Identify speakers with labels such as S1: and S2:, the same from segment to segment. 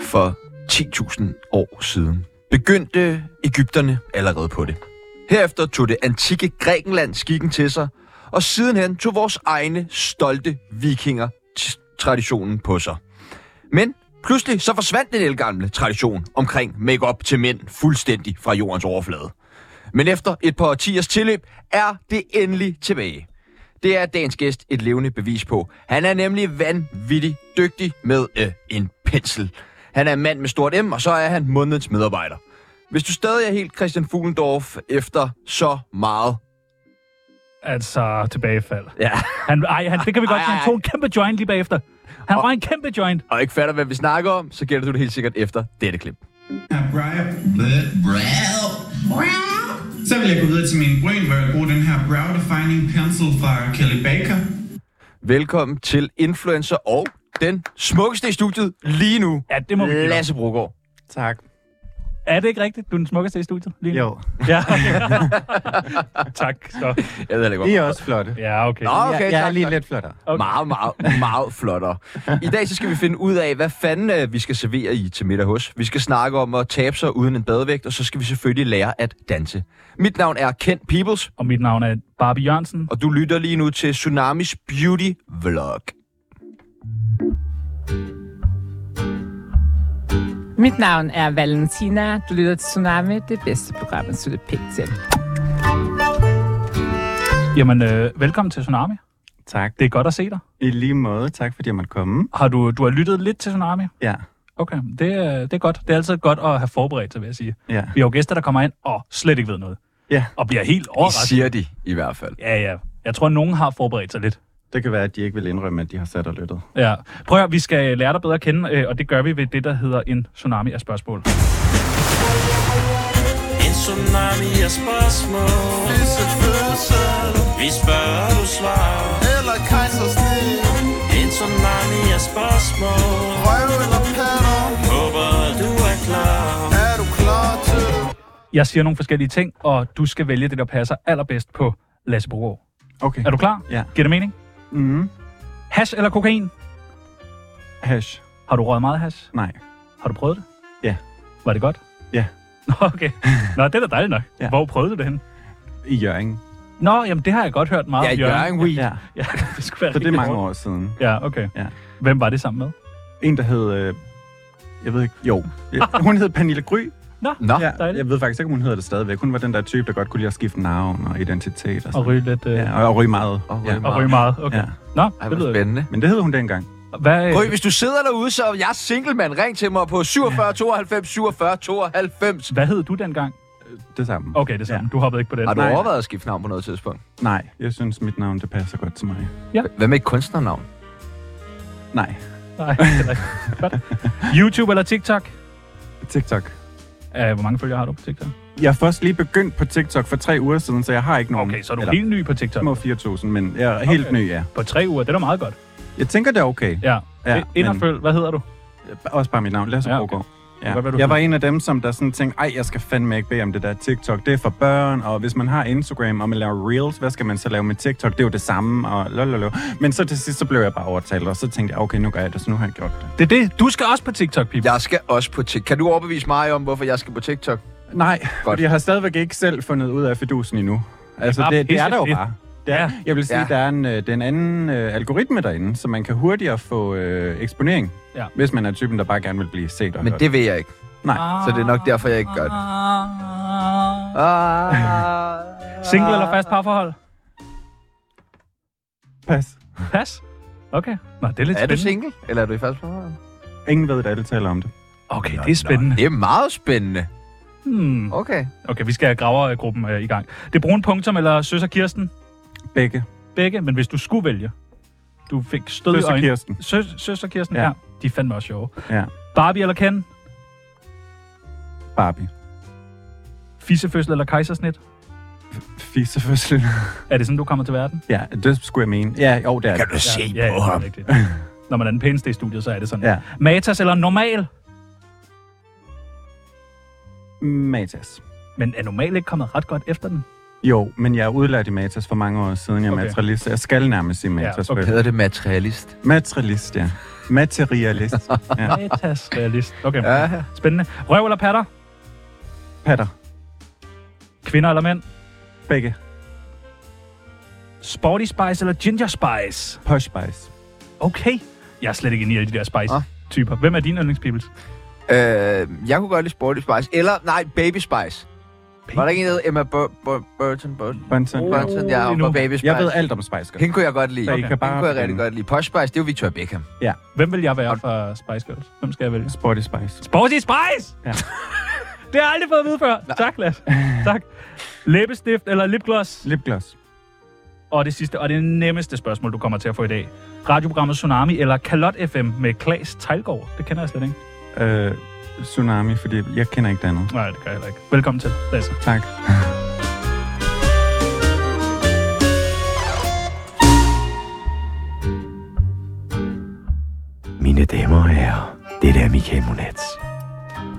S1: For 10.000 år siden begyndte Ægypterne allerede på det. Herefter tog det antikke Grækenland skikken til sig, og sidenhen tog vores egne stolte vikinger t- traditionen på sig. Men pludselig så forsvandt den elgamle tradition omkring makeup til mænd fuldstændig fra jordens overflade. Men efter et par årtiers tilløb er det endelig tilbage. Det er dagens gæst et levende bevis på. Han er nemlig vanvittig dygtig med øh, en pensel. Han er en mand med stort M, og så er han månedens medarbejder. Hvis du stadig er helt Christian Fuglendorf efter så meget...
S2: Altså, tilbagefald.
S1: Ja,
S2: Han, ej, han, det kan vi godt
S1: Ej,
S2: sige.
S1: ej,
S2: Han tog en kæmpe joint lige bagefter. Han
S1: Og-
S2: røg en kæmpe joint.
S1: og ikke fatter, hvad vi snakker om, så gætter du det helt sikkert efter dette klip.
S3: Ah, Så vil jeg gå videre til min bryn, hvor jeg bruger den her Brow Defining Pencil fra Kelly Baker.
S1: Velkommen til Influencer og den smukkeste i studiet lige nu,
S2: Ja, det må vi give dig.
S1: Lasse Brogaard.
S4: Tak.
S2: Er det ikke rigtigt? Du er den smukkeste i studiet lige nu?
S4: Jo,
S2: Ja, okay. tak. Så.
S1: Jeg ved heller ikke,
S4: I
S1: hvorfor.
S4: er også flotte.
S2: Ja, okay.
S1: Nå, okay,
S4: jeg, jeg er
S1: tak,
S4: lige
S1: tak.
S4: lidt flottere.
S1: Okay. Meget, meget, meget flottere. I dag så skal vi finde ud af, hvad fanden øh, vi skal servere i til middag hos. Vi skal snakke om at tabe sig uden en badevægt, og så skal vi selvfølgelig lære at danse. Mit navn er Kent Peoples,
S2: Og mit navn er Barbie Jørgensen.
S1: og du lytter lige nu til Tsunamis Beauty Vlog.
S5: Mit navn er Valentina. Du lytter til Tsunami, det bedste program, at slutte pænt til.
S2: Jamen, øh, velkommen til Tsunami.
S4: Tak.
S2: Det er godt at se dig.
S4: I lige måde, tak fordi jeg måtte komme.
S2: Har du, du har lyttet lidt til Tsunami?
S4: Ja,
S2: Okay, det, øh, det er godt. Det er altid godt at have forberedt sig, vil jeg sige.
S4: ja,
S2: Vi har jo gæster, der kommer ind og slet ikke ved noget.
S4: ja.
S2: Og bliver helt
S1: Det
S2: overrasket.
S1: siger de i hvert fald.
S2: Ja, ja. Jeg tror, nogen har forberedt sig lidt.
S4: Det kan være, at de ikke vil indrømme, at de har sat og lyttet.
S2: Ja. Prøv at høre, vi skal lære dig bedre at kende, øh, og det gør vi ved det, der hedder en tsunami af spørgsmål.
S6: En tsunami af spørgsmål Vi spørger, du svarer
S7: Eller kejsersnit
S6: En tsunami af spørgsmål
S7: Røv eller patter
S6: Håber, du er klar
S7: Er du klar til det?
S2: Jeg siger nogle forskellige ting, og du skal vælge det, der passer allerbedst på Lasse Brogaard.
S4: Okay.
S2: Er du klar?
S4: Ja.
S2: Giver det mening?
S4: Mm.
S2: Hash eller kokain?
S4: Hash.
S2: Har du røget meget hash?
S4: Nej.
S2: Har du prøvet det?
S4: Ja.
S2: Var det godt?
S4: Ja.
S2: Nå, okay. Nå, det er da dejligt nok.
S4: Ja.
S2: Hvor prøvede du det henne?
S4: I Jørgen.
S2: Nå, jamen det har jeg godt hørt meget
S1: Ja,
S2: om, Ah, Jørgen.
S1: Jørgen Weed.
S4: Ja.
S2: Ja, det skulle være
S4: Så det er
S2: rigtig
S4: mange
S2: hårdt.
S4: år siden.
S2: Ja, okay.
S4: Ja.
S2: Hvem var det sammen med?
S4: En, der hed... Øh, jeg ved ikke... Jo. Ja, Hun hed Pernille Gry.
S2: Nå,
S1: Nå,
S4: Ja,
S2: dejligt.
S4: jeg ved faktisk ikke, om hun hedder det stadigvæk. Hun var den der type, der godt kunne lide at skifte navn og identitet og
S2: og
S4: sådan.
S2: ryge lidt... Øh,
S4: Ja, og, og ryge meget.
S1: Og ryge
S4: ja.
S2: Og ryge meget, okay.
S4: Ja.
S2: Nå,
S1: Ej,
S2: det
S1: hvor
S2: lyder
S1: spændende.
S4: Men det hed hun dengang.
S2: Hvad, øh,
S1: Prøv, hvis du sidder derude, så er jeg single, mand. Ring til mig på 47 92 47 92.
S2: hvad hed du dengang?
S4: Det samme.
S2: Okay, det er sådan. Ja. Du hoppede ikke på den.
S1: Har du
S4: Nej.
S1: overvejet at skifte navn på noget tidspunkt?
S4: Nej, jeg synes, mit navn det passer godt til mig.
S1: Hvad med et kunstnernavn?
S4: Nej.
S2: Nej, det er rigtigt. Godt. YouTube eller TikTok?
S4: TikTok.
S2: Uh, hvor mange følgere har du på TikTok?
S4: Jeg er først lige begyndt på TikTok for tre uger siden, så jeg har ikke nogen.
S2: Okay, så er du
S4: Eller,
S2: helt ny på TikTok.
S4: små 4.000, men jeg er helt
S2: Okay.
S4: ny, ja.
S2: På tre uger, det er da meget godt.
S4: Jeg tænker, det er okay.
S2: Ja.
S4: Ja,
S2: ja Ind og
S4: men-
S2: følg, hvad hedder du?
S4: Også bare mit navn, Lasse
S2: Ja,
S4: ja,
S2: okay.
S4: Brogaard.
S2: kan
S4: Ja.
S2: godt være, du
S4: jeg var
S2: hedder-
S4: en af dem, som der sådan tænkte, ej, jeg skal fandme ikke bede om det der TikTok. Det er for børn, og hvis man har Instagram, og man laver Reels, hvad skal man så lave med TikTok? Det er jo det samme, og lololol. Men så til sidst, så blev jeg bare overtalt, og så tænkte jeg, okay, nu gør jeg det, så nu har jeg gjort det.
S2: Det er det. Du skal også på TikTok, Pip.
S1: Jeg skal også på TikTok. Kan du overbevise mig om, hvorfor jeg skal på TikTok?
S4: Nej, fordi
S1: Godt.
S4: jeg har stadigvæk ikke selv fundet ud af fidusen endnu. Altså,
S2: bare
S4: det, det er
S2: pisse
S4: der jo
S2: fedt.
S4: bare. Det er,
S2: Ja.
S4: ja. Jeg vil sige,
S1: Ja.
S4: ja. der er en, øh, den anden øh, algoritme derinde, så man kan hurtigere få øh, eksponering,
S2: Ja.
S4: ja. hvis man er typen, der bare gerne vil blive set og
S1: Men
S4: hørt.
S1: det vil jeg ikke.
S4: Nej.
S2: Ah.
S1: Så det er nok derfor, jeg ikke gør det. Ah.
S2: Single eller fast parforhold?
S4: Pas.
S2: Pas. Okay. Nå, det er lidt
S1: Er du
S2: spændende.
S1: single, eller er du i fast forhold?
S4: Ingen ved, at alle taler om det.
S2: Okay, det er spændende.
S1: Det er meget spændende.
S2: Hmm.
S1: Okay.
S2: Okay, vi skal have gravergruppen øh, i gang. Det er Brun Punktum eller Søs og Kirsten?
S4: Begge.
S2: Begge, men hvis du skulle vælge. Du fik stød i
S4: Søs og
S2: øjnene.
S4: Kirsten.
S2: Søs, søs og Kirsten, ja.
S4: Ja.
S2: ja. De er fandme også sjove.
S4: Ja.
S2: Barbie eller Ken?
S4: Barbie.
S2: Fissefødsel eller kejsersnit?
S4: Fisefødsel.
S2: Er det sådan, du kommer til verden?
S4: ja, det skulle jeg mene. Ja, jo, det er det.
S1: du se
S2: ja, det er rigtigt. Når man er den pæneste i studiet, så er det sådan.
S4: Ja.
S2: Matas eller normal?
S4: Matas.
S2: Men er normal ikke kommet ret godt efter den?
S4: Jo, men jeg er udlært i Matas for mange år siden. Jeg er
S2: Okay.
S4: okay. materialist, så jeg skal nærmest i Matas.
S2: Ja, okay.
S4: okay.
S1: Hedder det materialist?
S4: Materialist, ja. Materialist. ja.
S2: Metas realist. Okay,
S1: Ja.
S2: spændende. Røv eller patter?
S4: Patter.
S2: Kvinder eller mænd?
S4: Begge.
S2: Sporty Spice eller Ginger Spice?
S4: Posh Spice.
S2: Okay. Jeg er slet ikke inde i alle de der spice-typer. Hvem er dine yndlingspibels?
S1: Øh, jeg kunne godt lide Sporty Spice. Eller, nej, Baby Spice. Var der ikke en, der hed Emma Bur- Bur- Burton? Burton?
S4: Bunsen.
S2: Oh.
S4: Oh.
S1: Burton, ja, og
S2: endnu.
S1: var Baby Spice.
S4: Jeg ved alt om Spice Girls.
S1: Hende kunne jeg godt lide.
S4: Så I
S1: Okay.
S4: kan
S1: Hende
S4: bare
S1: kunne jeg rigtig
S4: finde-
S1: godt lide. Posh Spice, det er jo Victoria Beckham.
S2: Hvem vil jeg være fra Spice Girls? Hvem skal jeg vælge?
S4: Sporty Spice.
S2: Sporty Spice!
S4: Ja.
S2: det har jeg aldrig fået at vide før. Tak, Lasse. tak. Læbestift eller lipgloss?
S4: Lipgloss.
S2: Og det sidste og det nemmeste spørgsmål, du kommer til at få i dag. Radioprogrammet Tsunami eller Kalot FM med Klaas Tejlgaard? Det kender jeg slet ikke.
S4: Øh, tsunami, fordi jeg kender ikke det andet.
S2: Nej, det gør jeg heller ikke. Velkommen til, Lasse.
S4: Tak.
S8: Mine damer og herrer, det er Michael Monats.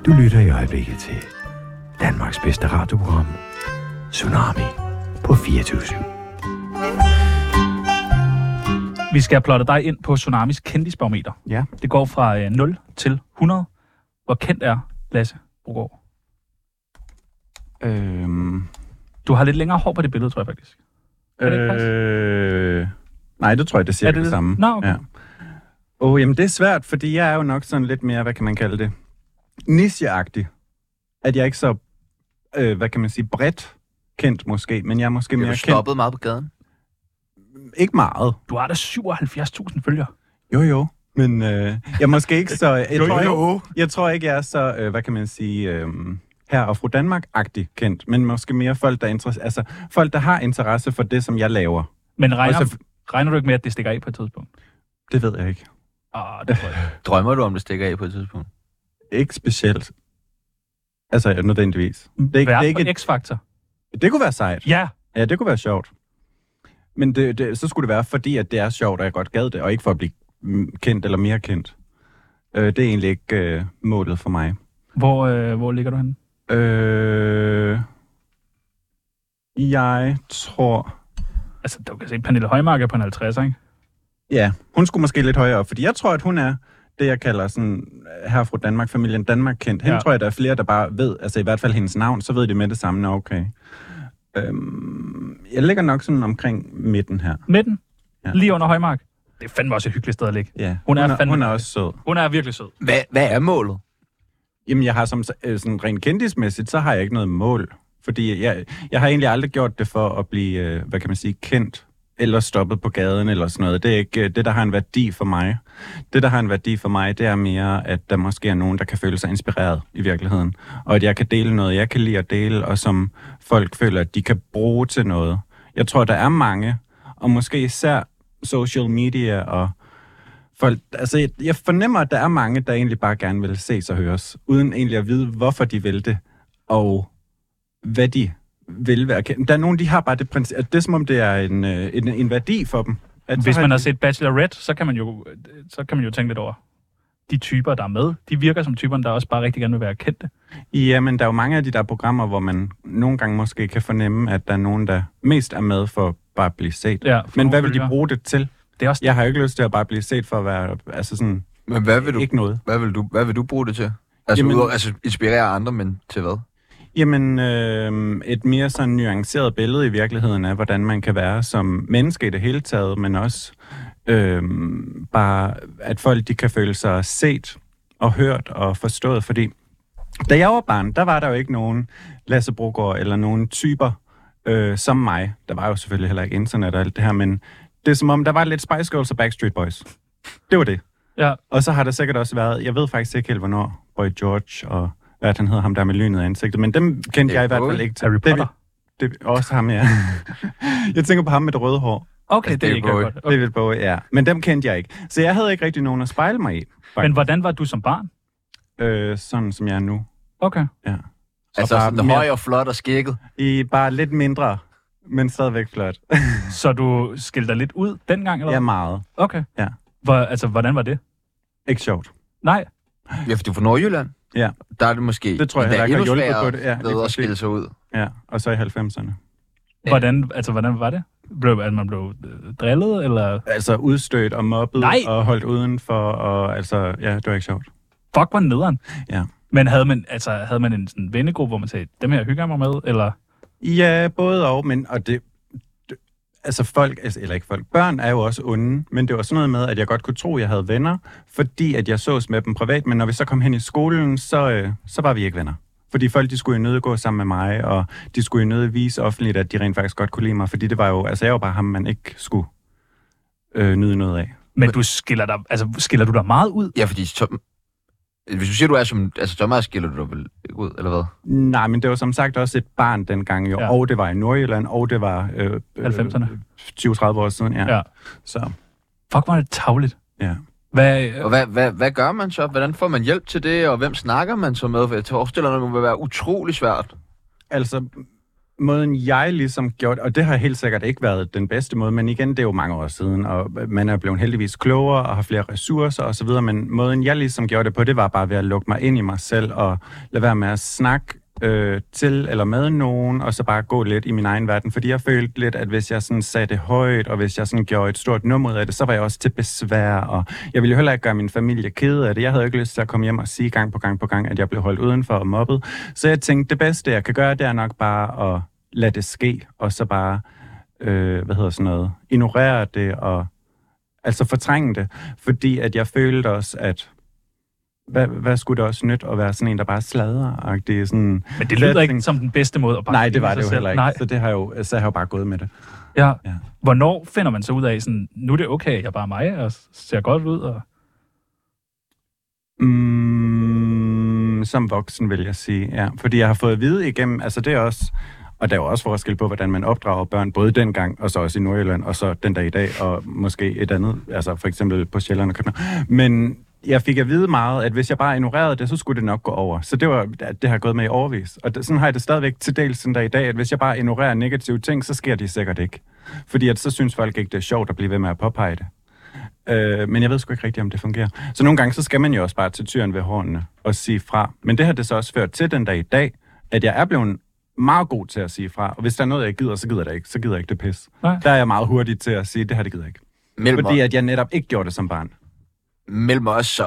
S8: Du lytter i øjeblikket til Danmarks bedste radioprogram, Tsunami på 24
S2: Vi skal have plottet dig ind på Tsunamis kendisbarometer.
S4: Ja.
S2: Det går fra øh, 0 til 100. Hvor kendt er Lasse Brogaard?
S4: Øhm,
S2: Du har lidt længere hår på det billede, tror jeg faktisk. Er det ikke
S4: øh, nej, det tror jeg, det siger
S2: Er det
S4: er
S2: det?
S4: det, det samme.
S2: Nå, okay.
S4: ja. oh, jamen, det er svært, fordi jeg er jo nok sådan lidt mere, hvad kan man kalde det, nicheagtig. At jeg er ikke så, øh, hvad kan man sige, bredt kendt måske, men jeg er måske
S1: Jeg
S4: mere
S1: blev
S4: kendt.
S1: stoppet meget på gaden.
S4: Ikke meget.
S2: Du har da 77.000 følgere.
S4: Jo, jo. Men øh, jeg er måske ikke så... Jeg,
S2: Jo,
S4: tror,
S2: jo, jo.
S4: Ikke, jeg tror ikke, jeg er så, øh, hvad kan man sige, øh, her og fru Danmark-agtig kendt, men måske mere folk, der, er interesse, altså, folk, der har interesse for det, som jeg laver.
S2: Men regner,
S4: Og så-
S2: regner du ikke med, at det stikker af på et tidspunkt?
S4: Det ved jeg ikke.
S2: Ah, det tror jeg. ikke.
S1: Drømmer du om, det stikker af på et tidspunkt?
S4: Ikke specielt. Altså, nødvendigvis. Det, er ikke, det,
S2: Vært
S4: er
S2: på
S4: ikke,
S2: X-Factor.
S4: det kunne være sejt.
S2: Ja,
S4: Ja, det kunne være sjovt. Men det, det, så skulle det være, fordi at det er sjovt, og jeg godt gad det, og ikke for at blive mm, kendt eller mere kendt. Øh, det er egentlig ikke øh, målet for mig.
S2: hvor, øh, hvor ligger du henne?
S4: Øh, jeg tror...
S2: Altså, du kan se, Pernille Højmark er på en 50, ikke?
S4: Ja, hun skulle måske lidt højere op, fordi jeg tror, at hun er det, jeg kalder sådan øh, her fra Danmark, familien Danmark kendt. Hende
S2: Ja.
S4: ja. tror jeg, der er flere, der bare ved, altså i hvert fald hendes navn, så ved de med det samme, nå okay. Øhm, jeg ligger nok sådan omkring midten her.
S2: Midten? Ja.
S4: Ja.
S2: Lige under Højmark? Det er fandme også et hyggeligt sted at ligge.
S4: Ja,
S2: Hun er
S4: hun, er,
S2: fandme-
S4: hun er også sød.
S2: Hun er virkelig sød.
S1: Hvad, hvad er målet?
S4: Jamen, jeg har som øh, sådan rent kendismæssigt, så har jeg ikke noget mål. Fordi jeg, jeg har egentlig aldrig gjort det for at blive, øh, hvad kan man sige, kendt eller stoppet på gaden eller sådan noget. Det er ikke øh, det, der har en værdi for mig. Det, der har en værdi for mig, det er mere, at der måske er nogen, der kan føle sig inspireret i virkeligheden. Og at jeg kan dele noget, jeg kan lide at dele, og som folk føler, at de kan bruge til noget. Jeg tror, der er mange, og måske især social media og folk, altså jeg, jeg fornemmer, at der er mange, der egentlig bare gerne vil ses og høres, uden egentlig at vide, hvorfor de vil det, og hvad de vil være kendt. Der er nogen, de har bare det princip, at det er som om, det er en, øh, en, en værdi for dem. At så
S2: Hvis
S4: har
S2: man
S4: de-
S2: har set Bachelorette, så kan man jo, så kan man jo tænke lidt over, de typer, der er med, de virker som typerne, der også bare rigtig gerne vil være kendte.
S4: Ja, men der er jo mange af de der programmer, hvor man nogle gange måske kan fornemme, at der er nogen, der mest er med for bare at blive set.
S2: Ja, for
S4: men
S2: nogle
S4: hvad vil de
S2: følgere.
S4: bruge det til?
S2: Det er også
S4: Jeg har jo ikke lyst til at bare blive set for at være, altså sådan,
S1: Men hvad vil du,
S4: ikke noget.
S1: hvad vil du, hvad vil du bruge det til? Altså,
S4: Jamen-
S1: udover, altså inspirere andre, men til hvad?
S4: Jamen, øh, et mere sådan nuanceret billede i virkeligheden af, hvordan man kan være som menneske i det hele taget, men også øh, bare, at folk de kan føle sig set og hørt og forstået, fordi da jeg var barn, der var der jo ikke nogen Lasse Brogaard eller nogen typer øh, som mig. Der var jo selvfølgelig heller ikke internet og alt det her, men det er som om, der var lidt Spice Girls og Backstreet Boys. Det var det.
S2: Ja.
S4: Og så har der sikkert også været, jeg ved faktisk ikke helt, hvornår Boy George og hvad han hedder, ham der med lynet i ansigtet, men dem kendte
S1: David
S4: jeg i hvert fald
S1: Bowie.
S4: ikke til.
S2: Harry Potter.
S4: Det, det, også ham, ja. jeg tænker på ham med det røde hår. Altså,
S2: Okay, det,
S1: det
S2: er
S1: er
S2: ikke
S1: Bowie.
S2: godt. Okay.
S4: David Bowie, ja. Men dem kendte jeg ikke. Så jeg havde ikke rigtig nogen at spejle mig i,
S2: Men hvordan var du som barn?
S4: øh, sådan som jeg er nu.
S2: Okay.
S4: Ja.
S1: altså,
S4: bare
S1: sådan
S4: mere-
S1: høj og flot og skægget.
S4: I bare lidt mindre, men stadigvæk flot.
S2: Så du skilte dig lidt ud dengang? Eller?
S4: ja,
S2: hvad?
S4: meget.
S2: Okay.
S4: Ja.
S2: Hvor, altså, hvordan var det?
S4: Ikke sjovt.
S2: Nej.
S1: Ja, for du er fra Nordjylland.
S4: Ja.
S1: Der er det måske
S4: Det tror jeg
S1: endda
S4: heller ikke har
S1: endnu
S4: hjulpet
S1: sværere
S4: på det. Ja, lige
S1: ved at
S4: præcis.
S1: skille sig ud.
S4: Ja, og så i 90'erne.
S2: Hvordan, altså, hvordan var det? Blev, at man blev øh, drillet, eller...
S4: Altså udstødt og mobbet
S2: Nej.
S4: og holdt udenfor, og altså, ja, det var ikke sjovt.
S2: Fuck, var nederen.
S4: Ja.
S2: Men havde man, altså, havde man en sådan vennegruppe, hvor man sagde, dem her hygger jeg mig med, eller...
S4: Ja, både og, men og det, det- altså folk, altså, eller ikke folk, børn er jo også onde, men det var sådan noget med, at jeg godt kunne tro, at jeg havde venner, fordi at jeg sås med dem privat, men når vi så kom hen i skolen, så, øh, så var vi ikke venner. Fordi folk, de skulle jo nødt gå sammen med mig, og de skulle jo nødt vise offentligt, at de rent faktisk godt kunne lide mig, fordi det var jo, altså jeg var bare ham, man ikke skulle øh, nyde noget af.
S2: Men du skiller dig, altså, skiller du dig meget ud?
S1: Ja, fordi så, hvis du siger, du er som... Altså, så meget skiller du dig vel ikke ud, eller hvad?
S4: Nej, men det var som sagt også et barn dengang jo,
S2: Ja.
S4: ja. og det var i Nordjylland, og det var øh, øh,
S2: 90'erne.
S4: 20-30 år siden, ja.
S2: Ja.
S4: ja. Så,
S2: Fuck, var det tavligt.
S4: ja.
S2: Hvad, øh,
S1: Og hvad, hvad, hvad gør man så? Hvordan får man hjælp til det, og hvem snakker man så med? For jeg forestiller mig, det må være utrolig svært.
S4: altså, måden jeg ligesom gjort, og det har helt sikkert ikke været den bedste måde, men igen, det er jo mange år siden, og man er blevet heldigvis klogere og har flere ressourcer osv., men måden jeg ligesom gjorde det på, det var bare ved at lukke mig ind i mig selv og lade være med at snakke øh, til eller med nogen, og så bare gå lidt i min egen verden, fordi jeg følte lidt, at hvis jeg sådan sagde det højt, og hvis jeg sådan gjorde et stort nummer ud af det, så var jeg også til besvær, og jeg ville jo heller ikke gøre min familie ked af det. Jeg havde jo ikke lyst til at komme hjem og sige gang på gang på gang, at jeg blev holdt udenfor og mobbet. Så jeg tænkte, det bedste, jeg kan gøre, det er nok bare at lade det ske, og så bare, øh, hvad hedder sådan noget, ignorere det, og altså fortrænge det, fordi at jeg følte også, at hvad, hvad skulle det også nytte at være sådan en, der bare sladrer? Det er sådan,
S2: men det lyder
S4: letting-
S2: ikke som den bedste måde at bare
S4: Nej, det
S2: skille
S4: var
S2: sig
S4: det jo
S2: selv.
S4: heller ikke.
S2: Nej.
S4: Så, det har jeg jo, så har jeg jo bare gået med det.
S2: Ja. ja.
S4: Ja.
S2: Hvornår finder man så ud af, sådan, nu er det okay, jeg er bare mig, og ser godt ud, og...
S4: Mm, som voksen, vil jeg sige, ja. Fordi jeg har fået at vide igennem, altså det er også, og der er jo også forskel på, hvordan man opdrager børn, både dengang, og så også i Nordjylland, og så den dag i dag, og måske et andet, altså for eksempel på Sjælland og København. Men jeg fik at vide meget, at hvis jeg bare ignorerede det, så skulle det nok gå over. Så det, var, det har jeg gået med i overvis. Og det, sådan har jeg det stadigvæk til dels den dag i dag, at hvis jeg bare ignorerer negative ting, så sker de sikkert ikke. Fordi at så synes folk ikke, det er sjovt at blive ved med at påpege det. Øh, men jeg ved sgu ikke rigtigt, om det fungerer. Så nogle gange, så skal man jo også bare til tyren ved hårene og sige fra. Men det har det så også ført til den dag i dag, at jeg er blevet meget god til at sige fra. Og hvis der er noget, jeg gider, så gider jeg det ikke. Så gider jeg ikke det pis.
S2: Nej.
S4: Der er jeg meget hurtig til at sige, det her, det gider jeg ikke.
S1: Mellem,
S4: Fordi at jeg netop ikke gjorde det som barn.
S1: mellem os, så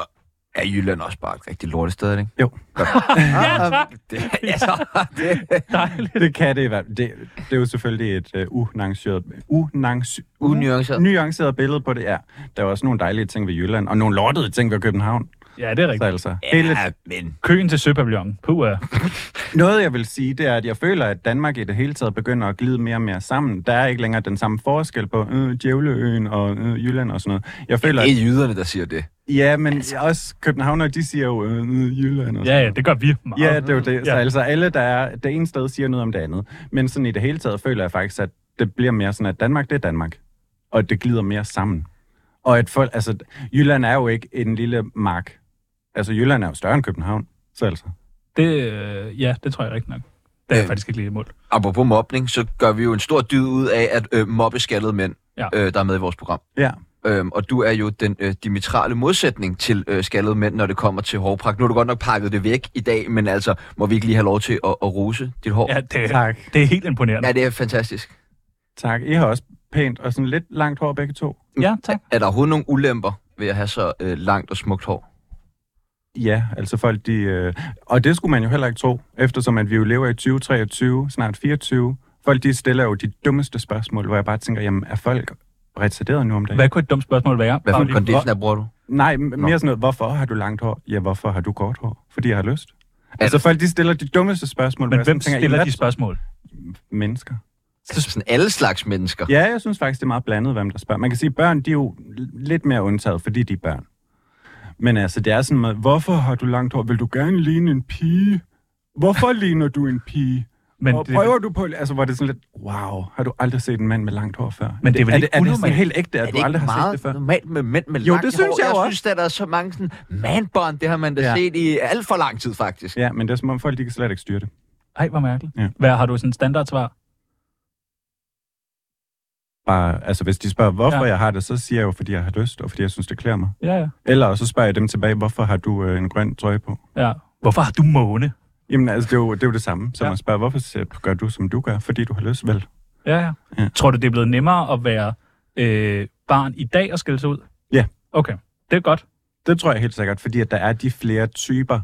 S1: er Jylland også bare et rigtig lortested, ikke?
S4: Jo.
S1: Godt. ja, tak. Det, altså, det,
S2: Dejligt.
S4: Det kan det i hvert fald. Det, det er jo selvfølgelig et øh, unuanceret, unuanceret,
S1: Unuanceret.
S4: nuanceret billede på det. Ja, der er også nogle dejlige ting ved Jylland, og nogle lortede ting ved København.
S2: Ja, det er
S4: Så
S2: rigtigt.
S4: altså, hele
S1: ja, men...
S2: Køen til Søpavillonen. Puh, ja.
S4: Noget, jeg vil sige, det er, at jeg føler, at Danmark i det hele taget begynder at glide mere og mere sammen. Der er ikke længere den samme forskel på øh, Djævleøen og øh, Jylland og sådan noget. Jeg føler,
S1: Det
S4: at,
S1: er jyderne, der siger det.
S4: ja, men også københavnere, de siger jo øh, øh, Jylland og sådan
S2: Ja, ja, det gør vi meget.
S4: Ja, det er jo det. Så
S2: Ja.
S4: altså alle, der er det ene sted, siger noget om det andet. Men sådan i det hele taget føler jeg faktisk, at det bliver mere sådan, at Danmark, det er Danmark. Og at det glider mere sammen. Og at folk, altså, Jylland er jo ikke en lille mark. Altså, Jylland er jo større end København. Så altså.
S2: Det, øh, ja, det tror jeg rigtig nok. Det er jeg
S1: Øh.
S2: faktisk ikke lige imod.
S1: Apropos mobning, så gør vi jo en stor dyd ud af at øh, mobbe skaldede mænd,
S2: Ja.
S1: ja. øh, der er med i vores program.
S4: Ja.
S1: Øhm, og du er jo den øh, dimetrale modsætning til øh, skaldede mænd, når det kommer til hårpragt. Nu har du godt nok pakket det væk i dag, men altså, må vi ikke lige have lov til at, at rose dit hår?
S2: Ja, det,
S4: Tak.
S2: det er helt imponerende.
S1: Ja, det er fantastisk.
S4: Tak. I har også pænt og sådan lidt langt hår begge to.
S2: Ja, tak.
S1: Er der overhovedet nogle ulemper ved at have så øh, langt og smukt hår?
S4: Ja, altså folk de... Øh, og det skulle man jo heller ikke tro, eftersom at vi jo lever i 2023, snart 24. Folk de stiller jo de dummeste spørgsmål, hvor jeg bare tænker, jamen er folk retarderet nu om dagen?
S2: Hvad kunne et dumt spørgsmål være?
S1: Hvad for
S2: Bare
S1: en
S2: lige-
S1: conditioner bruger du?
S4: Nej, m- mere sådan noget, hvorfor har du langt hår? Ja, hvorfor har du kort hår? Fordi jeg har lyst. Altså
S1: det-
S4: folk de stiller de dummeste spørgsmål. hvor
S2: Men
S4: jeg
S2: hvem
S4: sådan tænker,
S2: stiller
S4: "Jamen,
S2: de spørgsmål?
S4: hvad- Mennesker.
S1: Så sådan alle slags mennesker.
S4: Ja, jeg synes faktisk, det er meget blandet, hvem der spørger. Man kan sige, at børn de er jo l- lidt mere undtaget, fordi de er børn. Men altså, det er sådan med, hvorfor har du langt hår? Vil du gerne ligne en pige? Hvorfor ligner du en pige?
S2: Men
S4: Men og
S2: det-
S4: prøver du på... Altså, var det sådan lidt, wow, har du aldrig set en mand med langt hår før?
S2: Men det er vel
S4: er
S2: ikke
S4: det, er det sådan
S2: unormalt?
S4: helt ægte, at
S1: Er
S4: du
S1: det ikke
S4: aldrig har set
S1: meget
S4: det før?
S1: normalt med mænd med
S4: Jo,
S1: langt
S4: det synes
S1: hår?
S4: jeg jo
S1: jeg
S4: også.
S1: synes, at der er så mange sådan manbånd, det har man da ja.
S4: Ja.
S1: set i alt for lang tid, faktisk.
S4: Ja, men det er som om folk, de kan slet ikke styre det.
S2: Ej, hvor mærkeligt.
S4: Ja.
S2: Hvad, har du sådan et standardsvar?
S4: Bare, altså, hvis de spørger, hvorfor
S2: Ja.
S4: ja. jeg har det, så siger jeg jo, fordi jeg har lyst, og fordi jeg synes, det klæder mig.
S2: Ja, ja.
S4: Eller så spørger jeg dem tilbage, hvorfor har du øh, en grøn trøje på?
S2: ja. Hvorfor har du måne?
S4: Jamen, altså, det er jo det, er jo det samme, som
S2: Ja.
S4: ja. at spørge, hvorfor øh, gør du, som du gør? Fordi du har lyst, vel?
S2: Ja, ja,
S4: Ja.
S2: ja. Tror du, det er blevet nemmere at være øh, barn i dag og skille sig ud?
S4: Ja.
S2: Okay, det er godt.
S4: Det tror jeg helt sikkert, fordi at der er de flere typer,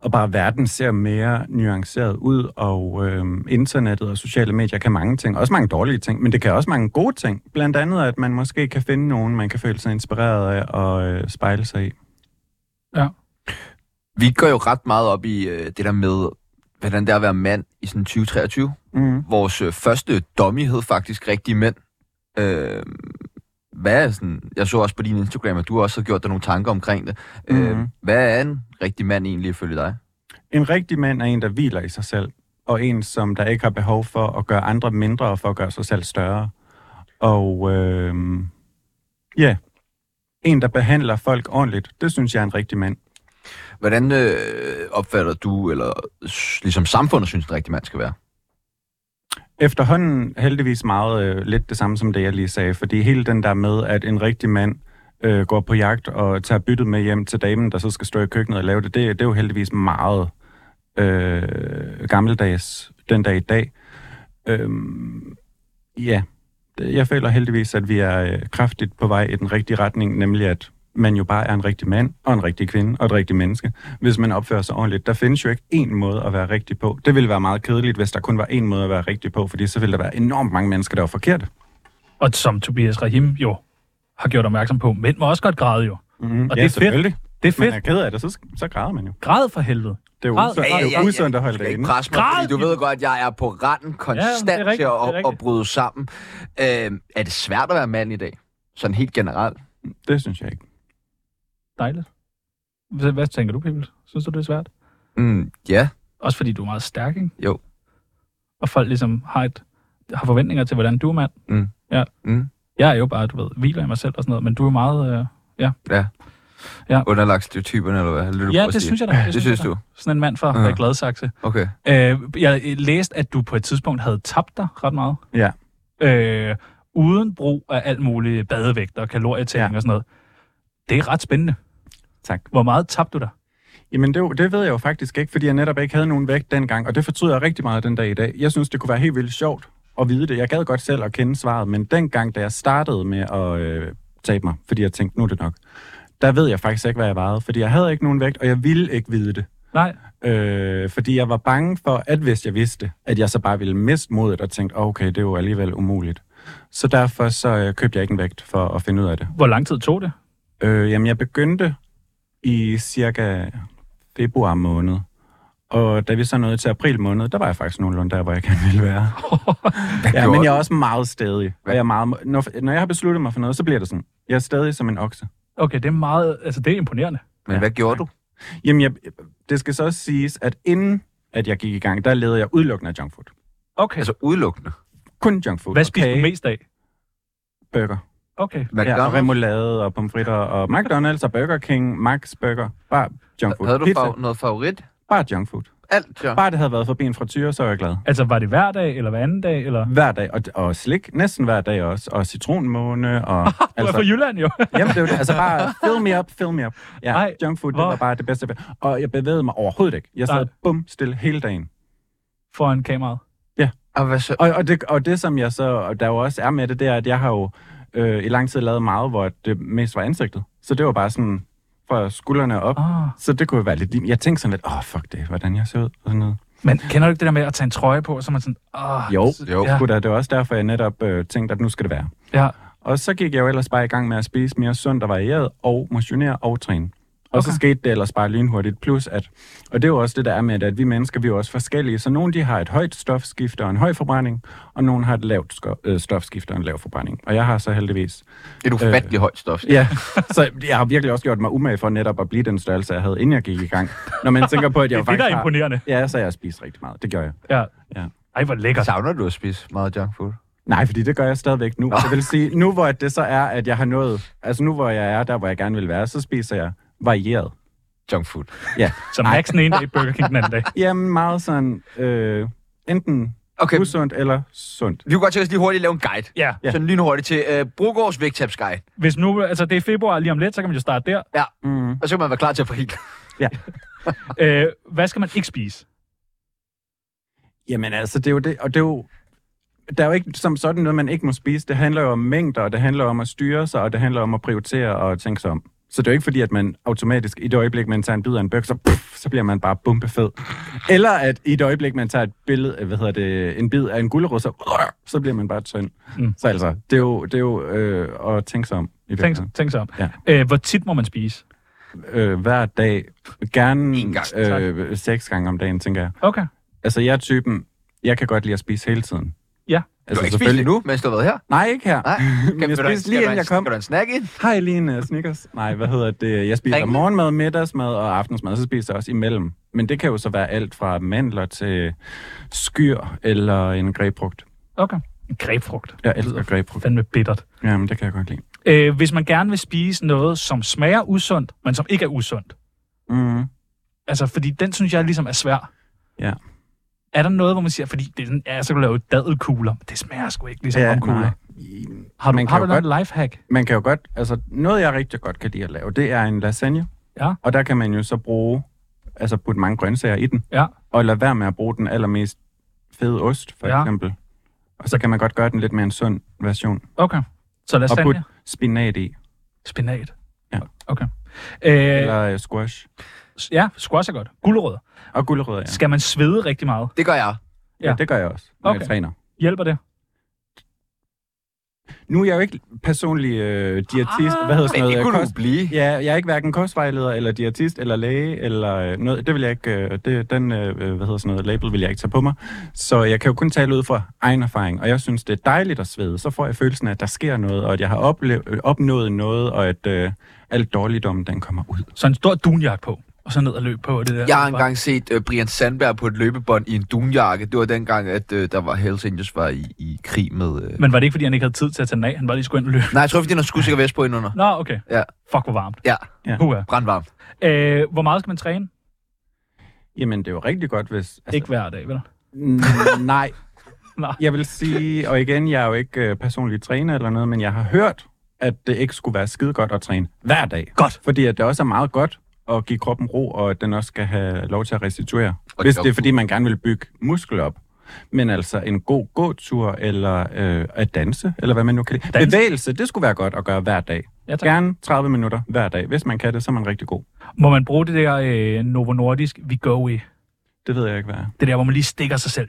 S4: og bare verden ser mere nuanceret ud, og øhm, internettet og sociale medier kan mange ting, også mange dårlige ting, men det kan også mange gode ting. Blandt andet, at man måske kan finde nogen, man kan føle sig inspireret af og øh, spejle sig i.
S1: Vi går jo ret meget op i øh, det der med, hvordan det er at være mand i sådan 2023.
S4: Mm.
S1: Vores øh, første dummy hed faktisk Rigtige Mænd. Øh, hvad er sådan, jeg så også på din Instagram, at du også har gjort dig nogle tanker omkring det. Øh,
S4: Mhm.
S1: hvad er en rigtig mand egentlig ifølge dig?
S4: En rigtig mand er en, der hviler i sig selv, og en, som der ikke har behov for at gøre andre mindre, og for at gøre sig selv større. Og øh, ja, yeah. en, der behandler folk ordentligt, det synes jeg er en rigtig mand.
S1: Hvordan øh, opfatter du, eller s- ligesom samfundet synes, en rigtig mand skal være?
S4: efterhånden heldigvis meget øh, lidt det samme som det, jeg lige sagde. Fordi hele den der med, at en rigtig mand øh, går på jagt og tager byttet med hjem til damen, der så skal stå i køkkenet og lave det, det, det er jo heldigvis meget øh, gammeldags den dag i dag. Øhm, ja, Det- jeg føler heldigvis, at vi er øh, kraftigt på vej i den rigtige retning, nemlig at man jo bare er en rigtig mand, og en rigtig kvinde, og et rigtigt menneske hvis man opfører sig ordentligt. Der findes jo ikke én måde at være rigtig på. Det ville være meget kedeligt, hvis der kun var én måde at være rigtig på, fordi så ville der være enormt mange mennesker, der var forkerte.
S2: Mhm. Og som Tobias Rahim jo har gjort opmærksom på, mænd må også godt græde jo.
S4: Mm-hmm.
S2: Og det er fedt. Det er
S4: Hvis man er
S2: fedt.
S4: ked af det, så, sk- så græder man jo.
S2: Græd for helvede.
S4: Det er jo
S2: Græd.
S4: usundt, det er jo usundt at holde
S1: Du
S4: det
S1: skal ikke
S4: inde.
S1: presse mig,
S2: Græd,
S1: fordi du
S2: Kim.
S1: ved godt, at jeg er på randen konstant
S2: Ja, det er rigtigt,
S1: til
S2: det er
S1: at,
S2: rigtigt.
S1: at bryde sammen. Øh, er det svært at være mand i dag? Sådan helt generelt.
S4: Det synes jeg ikke.
S2: Dejligt. Hvad, hvad tænker du, Pibels? Synes du, det er svært?
S1: Mm, ja,
S2: Også fordi du er meget stærk, ikke?
S1: Jo.
S2: Og folk ligesom har, et, har forventninger til, hvordan du er mand.
S1: Mm.
S2: Ja.
S1: Mm.
S2: Jeg er jo bare, du ved, hviler i mig selv og sådan noget, men du er meget... Øh,
S1: underlagt stereotyperne, eller hvad? Lidt
S2: ja, det synes jeg da.
S1: Det synes
S2: jeg da.
S1: du?
S2: Sådan en mand fra
S1: Ja.
S2: ja. Gladsaxe.
S1: Okay.
S2: Øh, jeg læste, at du på et tidspunkt havde tabt dig ret meget.
S4: Ja.
S2: Øh, uden brug af alt muligt badevægter og kalorietæring
S4: Ja.
S2: ja. og sådan noget. Det er ret spændende.
S4: Tak.
S2: Hvor meget tabte du dig?
S4: Jamen, det, er jo- det ved jeg jo faktisk ikke, fordi jeg netop ikke havde nogen vægt dengang, og det fortryder jeg rigtig meget den dag i dag. Jeg synes, det kunne være helt vildt sjovt at vide det. Jeg gad godt selv at kende svaret, men dengang, da jeg startede med at øh, tabe mig, fordi jeg tænkte, nu er det nok, der ved jeg faktisk ikke, hvad jeg vejede, fordi jeg havde ikke nogen vægt, og jeg ville ikke vide det.
S2: Nej.
S4: Øh, fordi jeg var bange for, at hvis jeg vidste, at jeg så bare ville miste modet og tænkte, "Åh, okay, det er jo alligevel umuligt. Så derfor så øh, købte jeg ikke en vægt for at finde ud af det.
S2: Hvor lang tid tog det?
S4: Øh, jamen, jeg begyndte i cirka februar måned. Og da vi så nåede til april måned, der var jeg faktisk nogenlunde der, hvor jeg gerne ville være. ja, men
S1: gjorde
S4: jeg er også meget stedig. Og jeg er meget, når, når jeg har besluttet mig for noget, så bliver det sådan. Jeg er stadig som en okse.
S2: Okay, det er meget... Altså, det er imponerende.
S1: Men hvad gjorde du?
S4: Jamen, jeg, det skal så også siges, at inden at jeg gik i gang, der levede jeg udelukkende af junkfood.
S2: Okay.
S1: Altså udelukkende.
S4: Kun junkfood.
S2: Hvad spiste
S4: okay,
S2: du mest af?
S4: Burger.
S2: Okay.
S4: Ja, og
S1: McDonald's?
S4: remoulade og pomfritter og McDonald's og Burger King, Max Burger. Bare junkfood.
S1: Havde du
S4: Pizza.
S1: fa- noget favorit?
S4: Bare junkfood.
S1: Alt, ja.
S4: Bare det havde været forbi en frityr, så var jeg glad.
S2: Altså, var det hver dag, eller hver anden dag, eller...
S4: Hver dag, og, og slik næsten hver dag også, og citronmåne, og
S2: Du er fra
S4: altså,
S2: Jylland, jo.
S4: jamen, det var det, altså bare fill me up, fill me up. Ja,
S2: Ej,
S4: junk food, det
S2: hvor-
S4: var bare det bedste. Og jeg bevægede mig overhovedet ikke. Jeg sad
S2: Nej.
S4: bum stille hele dagen.
S2: Foran kameraet.
S1: Og Ah, hvad så?
S4: Og, og, det, og det, som jeg så, og der jo også er med det, det er, at jeg har jo øh, i lang tid lavet meget, hvor det mest var ansigtet. Så det var bare sådan fra skuldrene op.
S2: Ah.
S4: Så det kunne jo være lidt... lim- Jeg tænkte sådan lidt, åh, oh, fuck det, hvordan jeg ser ud, og sådan noget.
S2: Men kender du ikke det der med at tage en trøje på, så er man sådan... Oh,
S4: Jo,
S1: jo.
S2: Ja,
S4: Ja. Det var også derfor, jeg netop øh, tænkte, at nu skal det være.
S2: ja.
S4: Og så gik jeg jo ellers bare i gang med at spise mere sundt og varieret, og motionere og træne. Og okay. så skete det ellers bare lynhurtigt. Plus at, og det er jo også det, der er med, at vi mennesker, vi er jo også forskellige. Så nogle, de har et højt stofskifte og en høj forbrænding, og nogle har et lavt sko- øh, stofskifte og en lav forbrænding. Og jeg har så heldigvis...
S1: Et ufatteligt højt stof.
S4: Øh. Ja, så jeg har virkelig også gjort mig umage for netop at blive den størrelse, jeg havde, inden jeg gik i gang. Når man tænker på, at jeg
S2: Det
S4: jo
S2: er det, der
S4: faktisk
S2: er imponerende.
S4: har... Ja, så jeg spiser rigtig meget. Det gør jeg.
S2: Ja.
S4: Ja.
S2: Ej, hvor lækkert.
S1: Savner du at spise meget junk food?
S4: Nej, fordi det gør jeg stadigvæk nu. Jeg vil sige, nu hvor det så er, at jeg har nået... Altså nu hvor jeg er der, hvor jeg gerne vil være, så spiser jeg varieret.
S1: Junk food.
S4: Ja.
S2: Så Max den ene dag, Burger King den anden dag.
S4: Jamen meget sådan... Øh, enten
S1: Okay,
S4: usundt eller sundt.
S1: vi kunne godt tænke os lige hurtigt lave en guide.
S2: Ja.
S1: Ja. Sådan lynhurtigt til øh, Brogårds vægtabs guide.
S2: Hvis nu, altså det er februar lige om lidt, så kan man jo starte der.
S4: Mm.
S1: Og så kan man være klar til april.
S4: Altså,
S2: Øh, hvad skal man ikke spise?
S4: Jamen altså, det er jo det... Og det er jo... der er jo ikke som sådan noget, man ikke må spise. Det handler jo om mængder, og det handler om at styre sig, og det handler om at prioritere og tænke sig om. Så det er jo ikke fordi, at man automatisk i et øjeblik, man tager en bid af en bøk, så, puff, så bliver man bare bumpefed. Eller at i et øjeblik, man tager et billede, øh, hvad hedder det, en bid af en gulerod, så, så bliver man bare tynd.
S2: Mm.
S4: Mm. Så altså, det er jo, det er jo øh, at tænke sig om. I
S2: Tænk,
S4: virkeligheden.
S2: tænk så om. Ja.
S4: Ja.
S2: Øh, hvor tit må man spise?
S4: øh, hver dag. Gerne
S1: En gang, tak.
S4: øh, seks gange om dagen, tænker jeg.
S2: Okay.
S4: Altså, jeg er typen, jeg kan godt lide at spise hele tiden.
S2: Ja.
S1: Du
S4: Altså,
S1: har ikke spist
S4: selvfølgelig.
S1: endnu, mens du har været her.
S4: Nej, ikke her.
S1: Nej.
S4: Men jeg
S1: Vil du have-
S4: spiste lige
S1: skal du have
S4: inden
S1: en-
S4: jeg kom.
S1: Skal du have en snack ind?
S4: Hej, Line uh, Snickers. Nej, hvad hedder det? Jeg spiser
S1: Ringe.
S4: morgenmad, middagsmad og aftensmad, så spiser jeg også imellem. Men det kan jo så være alt fra mandler til skyr eller en grebfrugt.
S2: Okay. En grebfrugt.
S4: Jeg elsker grebfrugt.
S2: Fandme bittert.
S4: Jamen, det kan jeg godt lide.
S2: Øh, hvis man gerne vil spise noget, som smager usundt, men som ikke er usundt.
S4: Mm.
S2: Altså, fordi den synes jeg ligesom er svær.
S4: Ja.
S2: Er der noget, hvor man siger, fordi det er sådan, ja, så kan du lave dadelkugler. men Det smager sgu ikke ligesom ja,
S4: Ja,
S2: romkugler.
S4: nej.
S1: Mm.
S2: Har du,
S4: Man kan
S2: har du
S4: jo
S2: noget lifehack?
S4: Man kan jo godt, altså noget jeg rigtig godt kan lide at lave, det er en lasagne.
S2: Ja.
S4: Og der kan man jo så bruge, altså putte mange grøntsager i den.
S2: Ja.
S4: Og lade være med at bruge den allermest fede ost, for
S2: Ja.
S4: ja. eksempel. Og så kan man godt gøre den lidt mere en sund version.
S2: Okay. Så lad os
S4: Og putte
S2: putte...
S4: spinat i,
S2: Spinat.
S4: Ja.
S2: Okay. Øh,
S4: eller øh, squash.
S2: ja, squash er godt. Gulerødder.
S4: Og gulerødder, ja.
S2: Ja. Skal man svede rigtig meget?
S1: Det gør jeg.
S2: Ja.
S4: ja. ja. det gør jeg også, når okay.
S2: Okay.
S4: jeg træner.
S2: Hjælper det?
S4: Nu er jeg jo ikke personlig øh, diætist,
S2: Ah,
S4: ah, hvad hedder
S1: Men
S4: sådan noget?
S1: det
S4: øh,
S1: kunne
S4: kost-
S1: du blive.
S4: Ja, jeg er ikke hverken kostvejleder, eller diætist, eller læge, eller øh, noget. Det vil jeg ikke, øh, det, den, øh, hvad hedder sådan noget, label vil jeg ikke tage på mig. Så jeg kan jo kun tale ud fra egen erfaring, og jeg synes, det er dejligt at svede. Så får jeg følelsen af, at der sker noget, og at jeg har oplev- øh, opnået noget, og at øh, alt dårligdommen, den kommer ud.
S2: Så en stor dunjak på, og så ned og løb på det der.
S1: Jeg har engang set uh, Brian Sandberg på et løbebånd i en dunjakke. Det var dengang, at uh, der var Hells Angels var i, i krig med... Uh...
S2: Men var det ikke, fordi han ikke havde tid til at tage den af? Han var lige skulle ind og løbe.
S1: Nej, jeg tror, fordi han skulle sikkert vest på indenunder.
S2: Nå, okay.
S1: Ja.
S2: Fuck, hvor varmt.
S1: Ja,
S4: Ja.
S2: Puha.
S1: brandvarm.
S2: Øh, hvor meget skal man træne?
S4: Altså- Jamen, det er jo rigtig godt, hvis...
S2: Altså, ikke hver dag, vel?
S4: N- nej.
S2: Nej.
S4: Jeg vil sige, og igen, jeg er jo ikke øh, personlig træner eller noget, men jeg har hørt, at det ikke skulle være skide godt at træne hver dag.
S2: Godt.
S4: Fordi at det også er meget godt at give kroppen ro, og at den også skal have lov til at restituere.
S1: Og
S4: Og hvis
S1: jogge.
S4: det er, fordi man gerne vil bygge muskel op. Men altså en god gåtur, eller øh, at danse, eller hvad man nu kan lide.
S2: Danse?
S4: Bevægelse, det skulle være godt at gøre hver dag.
S2: Ja, tak.
S4: Gerne 30 minutter hver dag. Hvis man kan det, så er man rigtig god.
S2: Må man bruge det der øh, Novo Nordisk We Go i?
S4: Det ved jeg ikke, hvad er.
S2: Det der, hvor man lige stikker sig selv.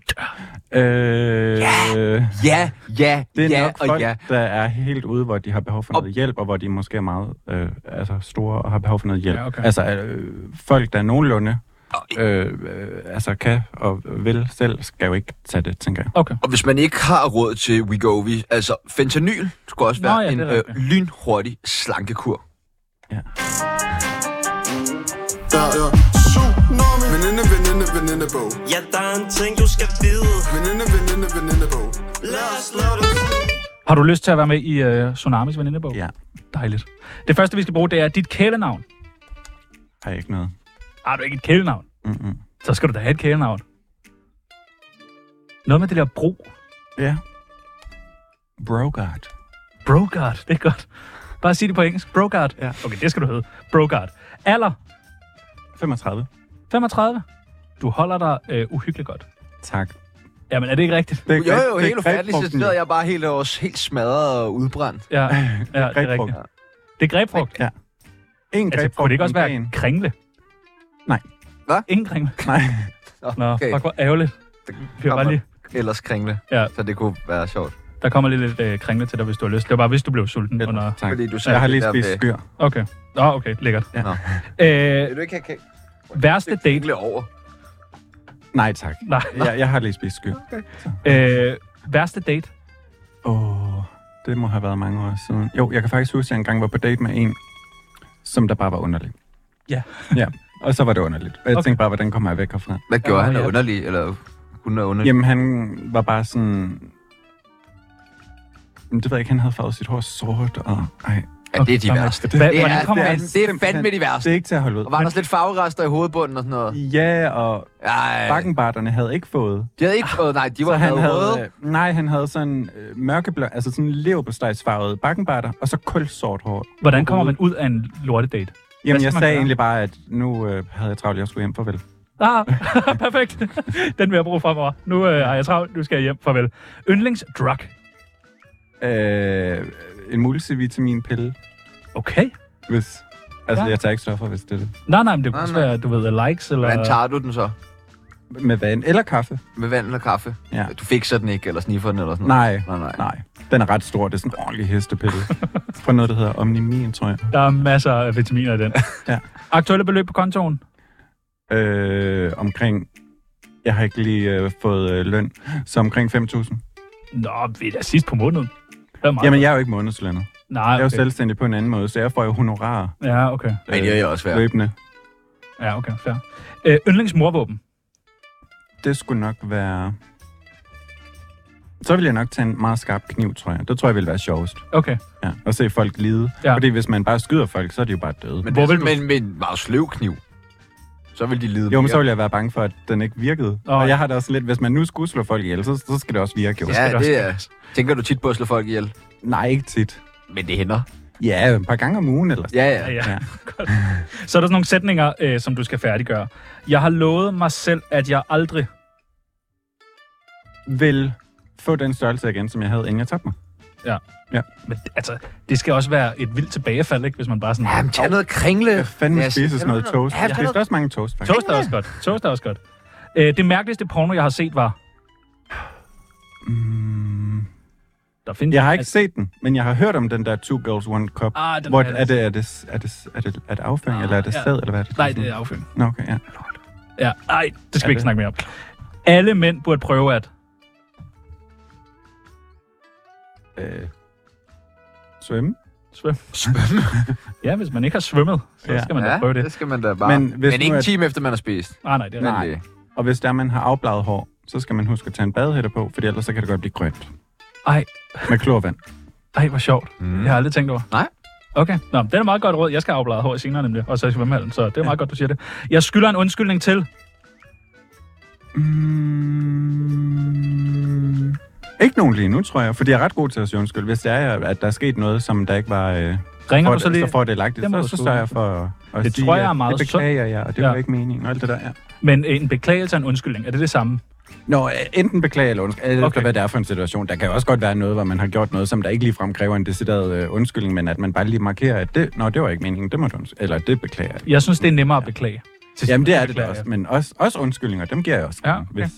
S4: Øh, yeah.
S1: Ja, ja,
S4: Det er
S1: ja
S4: ja, nok
S1: og
S4: folk,
S1: ja.
S4: ja. der er helt ude, hvor de har behov for
S1: Og-
S4: noget hjælp, og hvor de måske er meget øh, altså store og har behov for noget hjælp.
S2: Ja, okay.
S4: Altså øh, folk, der nogenlunde øh, øh, altså kan og vil selv, skal jo ikke tage det, tænker jeg.
S2: Okay.
S1: Og hvis man ikke har råd til WeGovi, altså fentanyl skulle også
S2: Nå,
S1: være
S2: ja,
S1: en
S2: det er
S1: øh,
S2: rigtigt.
S1: lynhurtig slankekur.
S7: Der er tsunami Veninde, veninde, venindebog
S6: Ja, der er en ting, du skal vide.
S7: Veninde, veninde, venindebog
S6: Lad os lave det.
S2: Har du lyst til at være med i øh, Tsunamis venindebog?
S4: Ja,
S2: Dejligt. Det første, vi skal bruge, det er dit kælenavn.
S4: har jeg ikke noget.
S2: Har du ikke et kælenavn?
S4: Mm-mm.
S2: Så skal du da have et kælenavn. Noget med det der bro.
S4: Ja. Brogard.
S2: Brogard, det er godt. Bare sig det på engelsk. Brogard.
S4: Ja.
S2: Okay, det skal du hedde. Brogard. Alder
S4: 35.
S2: 35. Du holder dig øh, uhyggeligt godt.
S4: Tak.
S2: Jamen, er det ikke rigtigt?
S4: Det
S1: Jo, jo, helt ufatteligt, så
S4: grebfrugten,
S1: sidder
S4: jo.
S1: jeg bare helt, også, helt smadret og udbrændt.
S2: Ja, ja det er
S4: Grebfrugt.
S2: rigtigt. Det er grebfrugt.
S4: En
S2: Altså,
S4: grebfrugt
S2: kunne det ikke også
S4: om
S2: være
S4: dagen.
S2: kringle?
S4: Nej.
S1: Hvad?
S2: Ingen kringle.
S4: Nej.
S2: Nå, okay. fuck, hvor ærgerligt. Vi har bare lige,
S1: Ellers kringle,
S2: Ja.
S1: ja. så det kunne være sjovt.
S2: der kommer lige lidt øh, kringle til dig, hvis du har lyst. Det var bare, hvis du blev sulten.
S4: Ja.
S2: Under...
S4: Tak.
S1: Fordi du sagde
S4: Jeg har lige
S1: det der
S4: spist
S1: med-
S4: skyr.
S2: Okay. Nå, okay, lækkert.
S4: Ja.
S1: Nå.
S2: Øh,
S1: Vil du ikke have kæ-
S2: værste date.
S1: kringle over?
S4: Nej, tak.
S2: Nej.
S4: Jeg, jeg har lige spist skyr.
S2: Øh, værste date.
S4: Åh, oh, det må have været mange år siden. Jo, jeg kan faktisk huske, at jeg engang var på date med en, som der bare var underlig.
S2: Ja.
S4: ja. Og så var det underligt. Og jeg
S2: Okay.
S4: okay. tænkte bare, hvordan kommer jeg væk herfra?
S1: Hvad gjorde
S2: Ja,
S1: han? Er
S2: ja.
S1: underlig, eller hun er underlig?
S4: Jamen, han var bare sådan... Jamen, Det ved jeg ikke, han havde farvet sit hår sort, og... Ej,
S1: Ja, det er de
S2: Nå, men-
S1: værste.
S2: Hva-
S1: Det
S2: hvordan
S1: er,
S2: kommer
S1: det, er,
S2: han?
S1: det er fandme de
S4: det er
S1: værste.
S4: ikke til at holde
S1: Og
S4: ud.
S1: var der også lidt farverester i hovedbunden og sådan noget?
S4: Ja, og
S1: Ej,
S4: bakkenbarterne havde ikke fået.
S1: de havde ikke fået, nej, de var
S4: så han havde,
S1: røde.
S4: øh, nej, han havde sådan øh, mørkeblå, altså sådan leverpostejsfarvet bakkenbarter, og så kulsort hår.
S2: Hvordan kommer man ud af en lortedate?
S4: Jamen,
S2: skal
S4: jeg
S2: man
S4: sagde
S2: gøre?
S4: egentlig bare, at nu øh, havde jeg travlt, jeg skulle hjem, farvel.
S2: Ah, perfekt. Den vil jeg bruge fremover. Nu øh, er jeg travlt. Nu skal jeg hjem. Farvel. Yndlingsdrug.
S4: Øh, en multivitaminpille,
S2: Okay.
S4: hvis... Altså,
S2: Ja.
S4: ja. jeg tager ikke stoffer, hvis det er det.
S2: Nej, nej, men det kunne
S1: Nej,
S2: også
S1: nej.
S2: være, du ved, likes eller...
S1: Hvordan tager du den så?
S4: Med vand eller kaffe.
S2: Mm.
S1: Med vand eller kaffe?
S4: Ja.
S1: Du fikser den ikke, eller sniffer den, eller sådan noget?
S4: Nej,
S1: Nej, nej.
S4: nej. Den er ret stor. Det er sådan en ordentlig hestepille. Fra noget, der hedder Omnimin, tror jeg.
S2: Der er masser af vitaminer i den.
S4: Ja.
S2: Aktuelle beløb på kontoen?
S4: Øh, omkring... Jeg har ikke lige øh, fået øh, løn. Så omkring 5.000.
S2: Nå, vi er da sidst på måneden. Det er meget.
S4: Jamen, jeg er jo ikke månedslønnet.
S2: nej,
S4: Jeg er jo
S2: okay.
S4: selvstændig på en anden måde, så jeg får jo honorarer
S2: Ja, okay.
S1: Men det er jo også værd.
S4: løbende.
S2: Ja, okay, fair. Øh, yndlingsmorvåben.
S4: Det skulle nok være... Så vil jeg nok tage en meget skarp kniv, tror jeg. Det tror jeg ville være sjovest.
S2: Okay.
S4: Ja, og se folk lide.
S2: Ja.
S4: Ja. Fordi hvis man bare skyder folk, så er de jo bare døde.
S1: Men,
S2: Hvor
S1: Hvor
S2: vil
S1: vil
S2: du-
S1: men, men meget sløv kniv. Så vil de lide
S4: Jo, men
S1: mere.
S4: så ville jeg være bange for, at den ikke virkede.
S2: Nå.
S4: Oh. Og jeg har da også lidt, hvis man nu skulle slå folk ihjel, så, så skal det også virke. Jo.
S1: Ja,
S2: også
S1: det er... Tænker du tit på at slå folk ihjel?
S4: Nej, ikke tit.
S1: Men det hænder.
S4: Ja, et par gange om ugen eller sådan.
S1: Ja,
S2: Ja,
S1: ja.
S2: ja.
S4: Ja.
S2: Godt. Så er der sådan nogle sætninger, øh, som du skal færdiggøre. Jeg har lovet mig selv, at jeg aldrig...
S4: Vil få den størrelse igen, som jeg havde, inden jeg tabte mig.
S2: Men altså, det skal også være et vildt tilbagefald, ikke? Hvis man bare sådan...
S1: Ja, men tag noget kringle.
S4: Jeg fandme
S1: Ja,
S4: ja, spise sådan noget
S1: ja,
S4: toast.
S1: ja,
S4: Jeg
S1: ja.
S4: spiste også mange toast, faktisk.
S2: Toast er også godt. Toast er også godt. Øh, det mærkeligste porno, jeg har set, var...
S4: Mm.
S2: Der findes, Altså,
S4: Jeg har ikke set den, men jeg har hørt om den der Two Girls, One Cup.
S2: Ah, den
S4: Hvor
S2: har jeg
S4: er det, er det, er det, er det, er det afføring,
S2: Ah,
S4: eller er det
S2: ja.
S4: sæd, eller hvad er det?
S2: Nej, det er affyring.
S4: Nå, okay, ja.
S2: Ja, nej, det skal vi
S4: Er
S2: ikke
S4: det-
S2: snakke mere om. Alle mænd burde prøve at...
S4: Øh, svømme.
S2: Svømme. Svømme? ja, hvis man ikke har svømmet, så
S4: Ja.
S2: skal man da
S1: Ja,
S2: prøve
S1: det
S2: det. Ah,
S1: skal man da bare. Men,
S4: Men hvis
S1: men
S4: nu
S1: ikke en
S4: at-
S1: time efter, man har spist.
S2: Nej, nej, det er
S1: Men,
S2: rigtigt.
S4: Nej.
S1: øh,
S4: Og hvis der man har afbladet hår, så skal man huske at tage en badehætter på, for ellers så kan det godt blive grønt.
S2: Ej,
S4: Med klorvand.
S2: ej, hvor sjovt. Mm. Det har jeg aldrig tænkt over.
S1: Nej.
S2: Okay, Nå, men det er et meget godt råd. Jeg skal afblade hår senere nemlig, og så i svømmehallen, så det er meget godt, du siger det. Jeg skylder en undskyldning til.
S4: Mm, ikke nogen lige nu, tror jeg, fordi jeg er ret god til at sige undskyld. Hvis det er, at der er sket noget, som der ikke var øh,
S2: Ringer
S4: for,
S2: du så lige?
S4: så fordelagtigt,
S2: Det må
S4: så,
S2: du
S4: så
S2: sgu
S4: sørger
S2: ikke.
S4: jeg for at, at
S2: Det
S4: sige,
S2: tror jeg er
S4: at
S2: meget
S4: det beklager jeg, og det
S2: Ja.
S4: ja. var ikke meningen, og alt det der, ja.
S2: Men en beklagelse og en undskyldning, er det det samme?
S4: Nå, øh, enten beklager eller undskyld, eller
S2: Okay.
S4: okay. hvad det er for en situation. Der kan jo også godt være noget, hvor man har gjort noget, som der ikke ligefrem kræver en decideret øh, undskyldning, men at man bare lige markerer, at det, nå, det var ikke meningen, det må du unds- eller det beklager jeg.
S2: Jeg synes, det er nemmere at beklage. Til
S4: Jamen, det er det da
S2: beklager
S4: også,
S2: jeg.
S4: men også, også undskyldninger, dem giver jeg også,
S2: Ja, okay.
S4: hvis,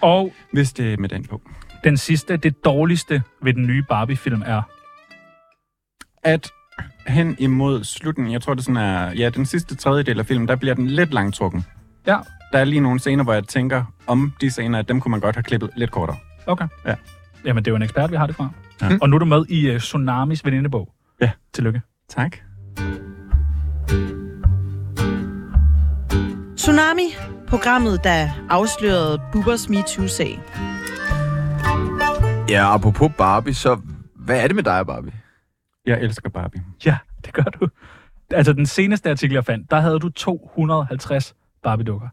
S2: Og
S4: hvis det er med den på.
S2: den sidste, det dårligste ved den nye Barbie-film er...
S4: At hen imod slutten, jeg tror, det sådan er, ja, den sidste tredjedel af filmen, der bliver den lidt langtrukken.
S2: Ja,
S4: Der er lige nogle scener, hvor jeg tænker om de scener, at dem kunne man godt have klippet lidt kortere.
S2: Okay.
S4: Ja.
S2: Jamen, det er jo en ekspert, vi har det fra. Ja.
S4: Ja.
S2: Og nu er du med i uh, Tsunamis venindebog.
S4: Ja.
S2: Tillykke.
S4: Tak.
S9: Tsunami, programmet, der afslørede Bubbers MeToo-sag.
S1: Ja, apropos Barbie, så hvad er det med dig, Barbie?
S4: Jeg elsker Barbie.
S2: Ja, det gør du. Altså, den seneste artikel, jeg fandt, der havde du 250 Barbie-dukker.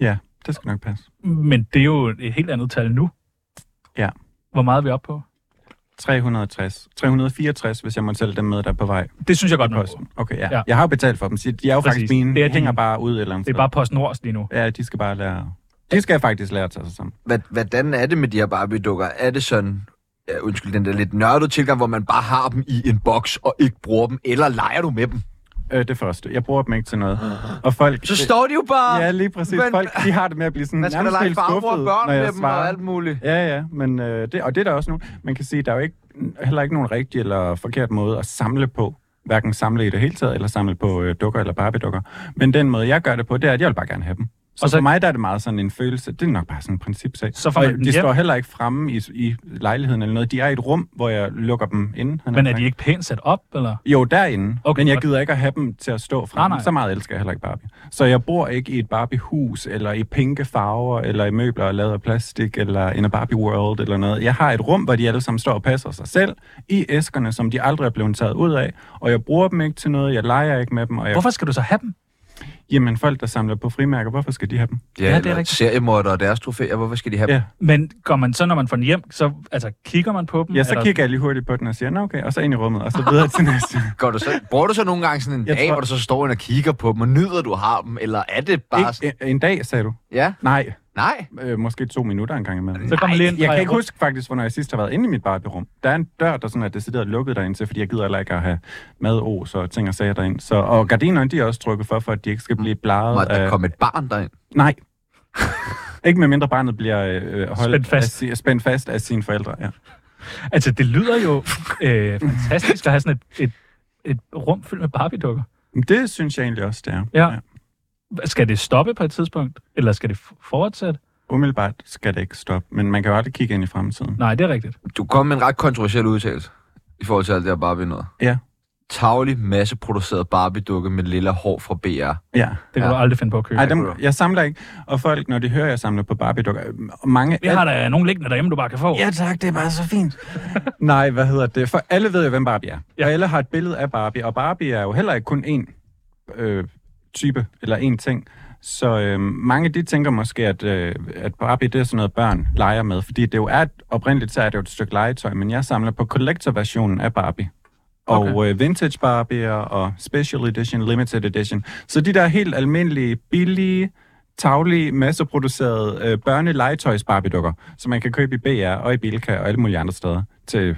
S4: Ja, det skal nok passe.
S2: Men det er jo et helt andet tal nu.
S4: Ja.
S2: Hvor meget er vi oppe på?
S4: 360. 364, hvis jeg må tælle dem med, der er på vej.
S2: Det synes jeg godt, man må.
S4: Posten. Okay, ja.
S2: Ja.
S4: ja. Jeg har jo betalt for dem, så de er jo
S2: Præcis.
S4: Præcis. faktisk mine.
S2: Det er
S4: De hænger
S2: din.
S4: bare ud et eller andet
S2: Det er bare PostNords lige nu.
S4: sted. Ja, de skal bare lære... De skal faktisk lære at tage sig sammen.
S1: Hvad, hvordan er det med de her Barbie-dukker? Er det sådan, ja, undskyld, den der lidt nørdede tilgang, hvor man bare har dem i en boks og ikke bruger dem, eller leger du med dem?
S4: Øh, det første. Jeg bruger dem ikke til noget. Og folk...
S1: Så står de jo bare...
S4: Ja, lige præcis.
S1: Men-
S4: Folk, de har det med at blive sådan
S1: Man skal da
S4: nærmest
S1: lege
S4: helt
S1: farmor og
S4: skuffede,
S1: børn
S4: når jeg
S1: med dem
S4: svarer.
S1: og alt muligt.
S4: Ja, ja, men, øh, det, og det er der også nu. Man kan sige, der er jo ikke, heller ikke nogen rigtig eller forkert måde at samle på. Hverken samle i det hele taget, eller samle på øh, dukker eller barbiedukker. Men den måde, jeg gør det på, det er, at jeg vil bare gerne have dem. Så,
S2: Og
S4: og
S2: så-
S4: så for mig der er det meget sådan en følelse. Det er nok bare sådan en principsag.
S2: Så får
S4: Og
S2: man dem
S4: de
S2: hjem.
S4: står heller ikke fremme i, i lejligheden eller noget. De er i et rum, hvor jeg lukker dem inde. han
S2: Men er
S4: sagt.
S2: de ikke pænt sat op, eller?
S4: Jo, derinde.
S2: Okay,
S4: Okay, men jeg
S2: godt.
S4: gider ikke at have dem til at stå
S2: Nej,
S4: frem.
S2: nej.
S4: Så meget elsker jeg heller ikke Barbie. Så jeg bor ikke i et Barbie-hus, eller i pinke farver, eller i møbler lavet af plastik, eller in a Barbie World, eller noget. Jeg har et rum, hvor de alle sammen står og passer sig selv, i æskerne, som de aldrig er blevet taget ud af, og jeg bruger dem ikke til noget, jeg leger ikke med dem, og jeg
S2: Hvorfor skal du så have dem?
S4: Jamen, folk, der samler på frimærker, hvorfor skal de have dem?
S2: det er
S1: eller
S2: rigtigt.
S1: seriemordere og deres trofæer, hvorfor skal de have
S4: Ja.
S2: Men går man så, når man får den hjem, så altså, kigger man på dem?
S4: Ja, så
S2: eller-
S4: kigger jeg lige hurtigt på den og siger, nå okay, og så ind i rummet, og så videre til næste.
S1: Går du så, bruger du så nogle gange sådan en
S4: Jeg
S1: dag,
S4: tror-
S1: hvor du så står ind og kigger på dem, og nyder du har dem, eller er det bare sådan,
S4: Ikke, øh, en, en dag, sagde du?
S1: ja,
S4: Nej,
S1: nej,
S4: øh, måske to minutter en gang imellem.
S2: Så kommer lige ind
S4: Jeg
S2: fra-
S4: kan ikke huske faktisk, hvornår jeg sidst har været inde i mit barbierum. Der er en dør, der sådan er decideret lukket derinde til, fordi jeg gider heller ikke at have madås og ting og sager derinde. Så, og gardinerne, de er også trukket for, for at de ikke skal blive
S1: Mm. må
S4: blaret
S1: der
S4: af...
S1: komme et barn derind?
S4: Nej. ikke med mindre barnet bliver øh, holdt
S2: Spændt fast.
S4: Af, si- spændt fast af sine forældre. Ja.
S2: Altså, det lyder jo øh, fantastisk at have sådan et, et, et rum fyldt med Barbie-dukker.
S4: Men Det synes jeg egentlig også, det er.
S2: Ja. Skal det stoppe på et tidspunkt, eller skal det f- fortsætte?
S4: Umiddelbart skal det ikke stoppe, men man kan jo aldrig kigge ind i fremtiden.
S2: Nej, det er rigtigt.
S1: Du kom med en ret kontroversiel udtalelse i forhold til alt det her Barbie noget.
S4: Ja.
S1: Tavlig masseproduceret Barbie-dukke med lilla hår fra BR.
S4: Ja.
S2: Det kan
S1: Ja.
S2: ja. du aldrig finde på at købe.
S4: Ej,
S1: det
S4: dem,
S1: kunne du.
S4: jeg samler ikke. Og folk, når de hører, jeg samler på Barbie-dukker, øh, mange...
S2: Vi har der nogle liggende derhjemme, du bare kan få.
S4: Ja tak, det er bare så fint. Nej, hvad hedder det? For alle ved jo, hvem Barbie er.
S2: Ja.
S4: Ja. Og alle har et billede af Barbie, og Barbie er jo heller ikke kun én øh, type eller én ting. Så øh, mange de tænker måske, at, øh, at Barbie det er sådan noget, børn leger med. Fordi det jo er, et, oprindeligt så er det jo et stykke legetøj, men jeg samler på collector-versionen af Barbie. Og
S2: Okay.
S4: øh, vintage Barbie'er og special edition, limited edition. Så de der helt almindelige, billige, taglige, masseproducerede øh, børnelegetøjs Barbie-dukker, som man kan købe i BR og i Bilka og alle mulige andre steder til, det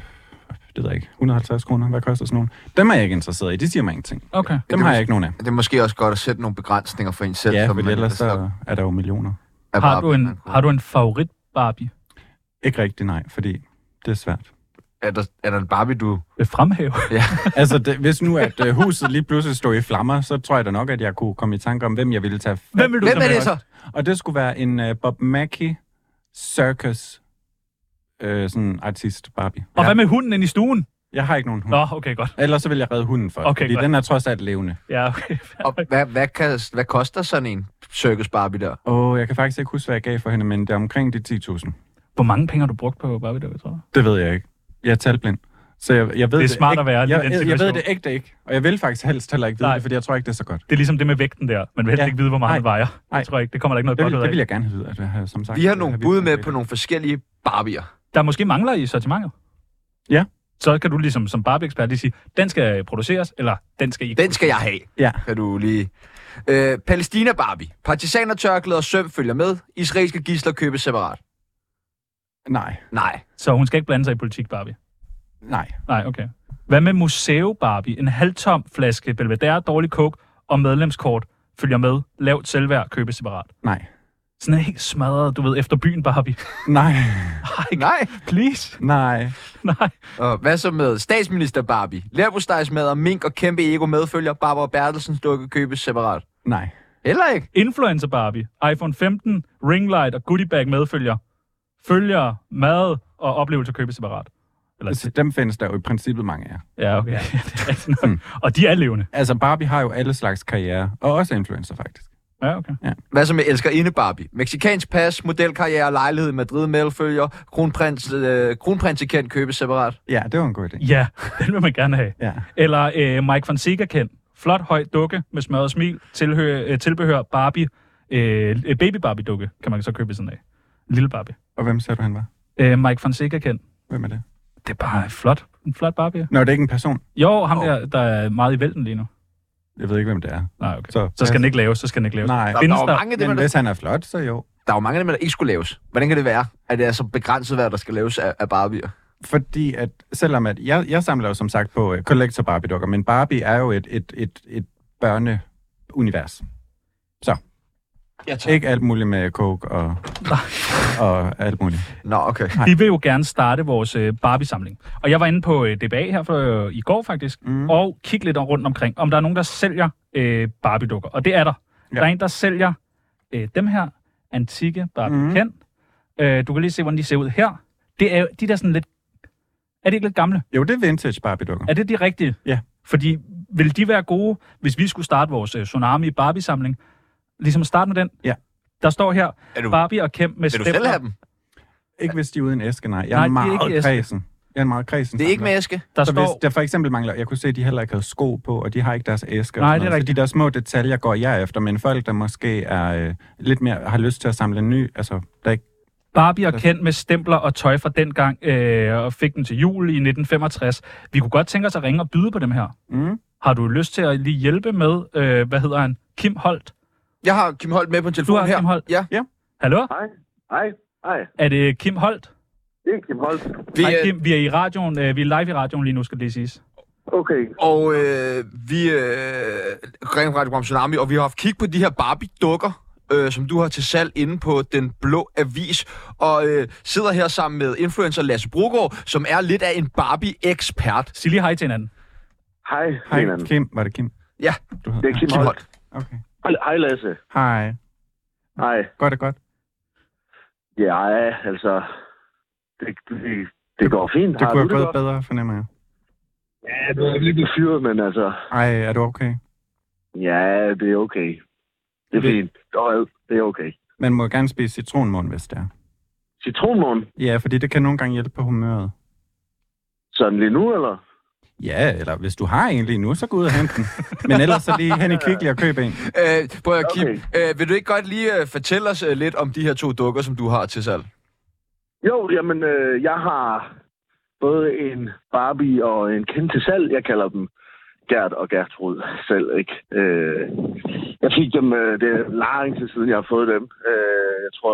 S4: ved jeg ikke, 150 kroner. Hvad koster sådan nogle? Dem er jeg ikke interesseret i. De siger mig ingenting.
S2: Okay.
S4: Dem har jeg ikke nogen af.
S1: Det er måske også godt at sætte nogle begrænsninger for en selv.
S4: Ja,
S1: som
S4: for
S1: man
S4: ellers
S1: ellers
S4: så er der jo millioner.
S1: er
S2: Har du,
S1: Barbie,
S2: en,
S1: man kunne-
S2: har du en favorit Barbie?
S4: Ikke rigtig nej, fordi det er svært.
S1: Er der, er der en Barbie, du...
S2: Vil fremhæve?
S4: altså, det, hvis nu at øh, huset lige pludselig stod i flammer, så tror jeg da nok, at jeg kunne komme i tanke om, hvem jeg ville tage fat
S2: Hvem vil du
S1: Hvem er det
S2: helst?
S1: så?
S4: Og det skulle være en uh, Bob Mackie Circus øh, sådan artist Barbie.
S2: Og
S4: Ja. Mm.
S2: hvad med hunden inde i stuen?
S4: Jeg har ikke nogen hund.
S2: Nå, okay, godt.
S4: Ellers så vil jeg redde hunden for,
S2: Okay,
S4: okay, fordi
S2: godt.
S4: den er trods alt levende.
S2: Ja, okay.
S1: Og hvad, hvad, kan, hvad koster sådan en circus Barbie der?
S4: Åh, jeg kan faktisk ikke huske, hvad jeg gav for hende, men det er omkring de 10.000.
S2: Hvor mange penge har du brugt på Barbie dukker, tror du?
S4: Det ved jeg ikke. Jeg er talblind. Så jeg, jeg ved
S2: Det er smart
S4: ikke,
S2: at være i
S4: jeg,
S2: den
S4: jeg, jeg ved
S2: situation.
S4: det ægte ikke, og jeg vil faktisk helst heller ikke vide
S2: Nej.
S4: Nej. det, fordi jeg tror ikke, det er så godt.
S2: Det er ligesom det med vægten der. Man vil helst
S4: Ja.
S2: ikke vide, hvor meget
S4: Nej.
S2: det vejer.
S4: Nej.
S2: Jeg tror ikke, det kommer der ikke noget
S4: Det vil,
S2: godt ud
S4: det
S2: af.
S4: vil jeg gerne vide, at det har, som sagt.
S1: Vi har
S4: det
S1: nogle
S4: vi
S1: bud
S4: ikke
S1: med
S4: rigtig.
S1: på nogle forskellige Barbier.
S2: der måske mangler i sortimentet.
S4: Ja.
S2: Så kan du ligesom som Barbie-ekspert lige sige, den skal produceres, eller den skal I ikke.
S1: Den skal jeg have.
S4: Ja.
S1: Kan du lige... Øh, Palæstina Barbie. Partisaner, tørklæder og søm følger med. Israelske gisler købes separat.
S4: Nej,
S1: Nej.
S2: Så hun skal ikke blande sig i politik, Barbie.
S4: nej.
S2: Nej, okay. Hvad med Museo Barbie? En halvtom flaske Belvedere, dårlig coke og medlemskort følger med. Lavt selvværd, købes separat.
S4: Nej.
S2: Sådan en helt smadret, du ved, efter byen Barbie.
S4: Nej.
S2: Nej,
S1: Nej.
S2: please.
S4: Nej.
S2: Nej.
S1: Og hvad så med statsminister Barbie? Lærbostejsmad og mink og kæmpe ego medfølger. Barbara Bertelsens dukke købes separat.
S4: Nej.
S1: Heller ikke.
S2: Influencer Barbie. iPhone 15, ringlight og goodie bag medfølger. Følger, mad og oplevelser købes separat. Eller
S4: Altså, dem findes der jo i princippet mange af.
S2: Ja, okay. det er rigtigt nok. Og de er levende.
S4: Altså, Barbie har jo alle slags karriere, og også influencer faktisk.
S2: Ja, okay.
S1: Hvad så med elskerinde Barbie? Mexikansk pas, modelkarriere, lejlighed i Madrid medfølger. Kronprins, øh, kronprinsekendt købes separat.
S4: Ja, det var en god idé.
S2: Ja, den vil man gerne have.
S4: Ja.
S2: Eller øh, Mike Fonseca kendt. Flot høj dukke med smørret smil, tilhører, øh, tilbehør Barbie. Øh, øh, baby Barbie dukke kan man så købe sådan af. Lille Barbie.
S4: Og hvem sagde du, han var?
S2: Øh, Mike Fonseca kendt.
S4: Hvem er det?
S2: Det er bare flot. En flot Barbie.
S4: Nå, det er ikke en person.
S2: Jo, ham
S1: Åh.
S2: der, der er meget i vælten lige nu.
S4: Jeg ved ikke, hvem det er.
S2: Nej, okay. Så,
S4: Så-
S2: så skal den ikke laves, så skal den ikke laves.
S4: Nej.
S1: Der, der,
S2: Findes
S1: er jo
S2: der-
S1: mange af dem,
S4: Men
S1: der,
S4: hvis han er flot, så jo.
S1: der, er jo mange af dem, der ikke skulle laves. Hvordan kan det være, at det er så begrænset, hvad der skal laves af, af Barbier?
S4: Fordi at, selvom at, jeg, jeg samler jo som sagt på uh, collector Barbie-dukker, men Barbie er jo et, et, et, et børneunivers.
S1: Ja,
S4: Ikke alt muligt med coke og, og alt muligt.
S1: Nå, okay.
S2: Vi vil jo gerne starte vores øh, Barbie-samling. Og jeg var inde på øh, DBA her for, øh, i går faktisk, mm.
S4: Mm.
S2: og kigge lidt rundt omkring, om der er nogen, der sælger øh, Barbie-dukker. Og det er der. Ja.
S4: Ja.
S2: Der er en, der sælger øh, dem her, antikke Barbie mm.
S4: Mm.
S2: Ken. Øh, du kan lige se, hvordan de ser ud her. Det er jo de der sådan lidt... Er det ikke lidt gamle?
S4: Jo, det er vintage Barbie-dukker.
S2: Er det de rigtige?
S4: Ja.
S2: Fordi vil de være gode, hvis vi skulle starte vores øh, Tsunami Barbie-samling? Ligesom starte med den?
S4: Ja.
S2: Der står her,
S1: Er du,
S2: Barbie og Ken med
S1: vil du selv
S2: stempler.
S1: have dem?
S4: Ikke hvis de er uden æske, nej. Jeg
S2: Nej,
S4: er
S2: de er
S4: meget
S2: ikke æske.
S4: kredsen. Jeg er en meget kredsen.
S1: Det er ikke
S4: samler.
S1: med æske.
S2: Der
S4: Så
S2: står...
S4: hvis der for eksempel mangler, jeg kunne se, at de heller ikke havde sko på, og de har ikke deres æsker. og
S2: Nej,
S4: sådan
S2: det er
S4: noget.
S2: rigtigt.
S4: Så de der små detaljer går jeg efter, men folk, der måske er øh, lidt mere, har lyst til at samle en ny, altså, der ikke,
S2: Barbie og Ken med stempler og tøj fra dengang, øh, og fik den til jul i 1965. Vi kunne godt tænke os at ringe og byde på dem her.
S4: mm,
S2: Har du lyst til at lige hjælpe med, øh, hvad hedder han, Kim Holt?
S1: Jeg har Kim Holt med på en telefon
S2: har
S1: her.
S2: Kim Holt?
S1: Ja.
S2: Hallo?
S10: Hej. Hej. Hej.
S2: Er det Kim Holt?
S10: Det er Kim Holt.
S1: Vi,
S2: Hej
S1: øh,
S2: Kim, vi er i radioen, øh, vi er live i radioen lige nu, skal det lige siges.
S10: Okay.
S1: og øh, vi øh, ringer Radio Gram Tsunami, og vi har haft kig på de her Barbie-dukker, øh, som du har til salg inde på Den Blå Avis, og øh, sidder her sammen med influencer Lasse Brogaard, som er lidt af en Barbie-ekspert.
S2: Sig lige hej til hinanden.
S10: Hej.
S4: hej,
S10: Hej.
S4: Kim, var det Kim?
S1: Ja,
S4: Du havde,
S10: Det er Kim
S1: Kim
S10: Holt.
S1: Holt.
S4: Okay.
S10: Hej- Hej Lasse.
S4: Hej.
S10: Hej.
S4: Godt og godt.
S10: Ja, altså... Det, det, det går fint.
S4: Det
S10: Har
S4: kunne
S10: du
S4: have gået
S10: godt?
S4: bedre, fornemmer jeg.
S10: Ja, du er lige blevet fyret, men altså...
S4: Ej, er du okay?
S10: Ja, det er okay. Det er
S4: Det-
S10: fint. Og, Det er okay.
S4: Man må gerne spise citronmåne, hvis det er.
S10: Citronmåne.
S4: Ja, fordi det kan nogle gange hjælpe på humøret.
S10: Sådan lige nu, eller?
S4: Ja, eller hvis du har en lige nu, så gå ud og hente den. Men ellers så lige hen i Kvickly og køb en.
S1: Øh, prøv at Kim,
S10: Okay.
S1: øh, vil du ikke godt lige øh, fortælle os øh, lidt om de her to dukker, som du har til salg?
S10: Jo, jamen, øh, jeg har både en Barbie og en Ken til salg. Jeg kalder dem Gert og Gertrud selv, ikke? Øh, jeg fik dem, øh, det er lang tid siden, jeg har fået dem. Øh, jeg tror,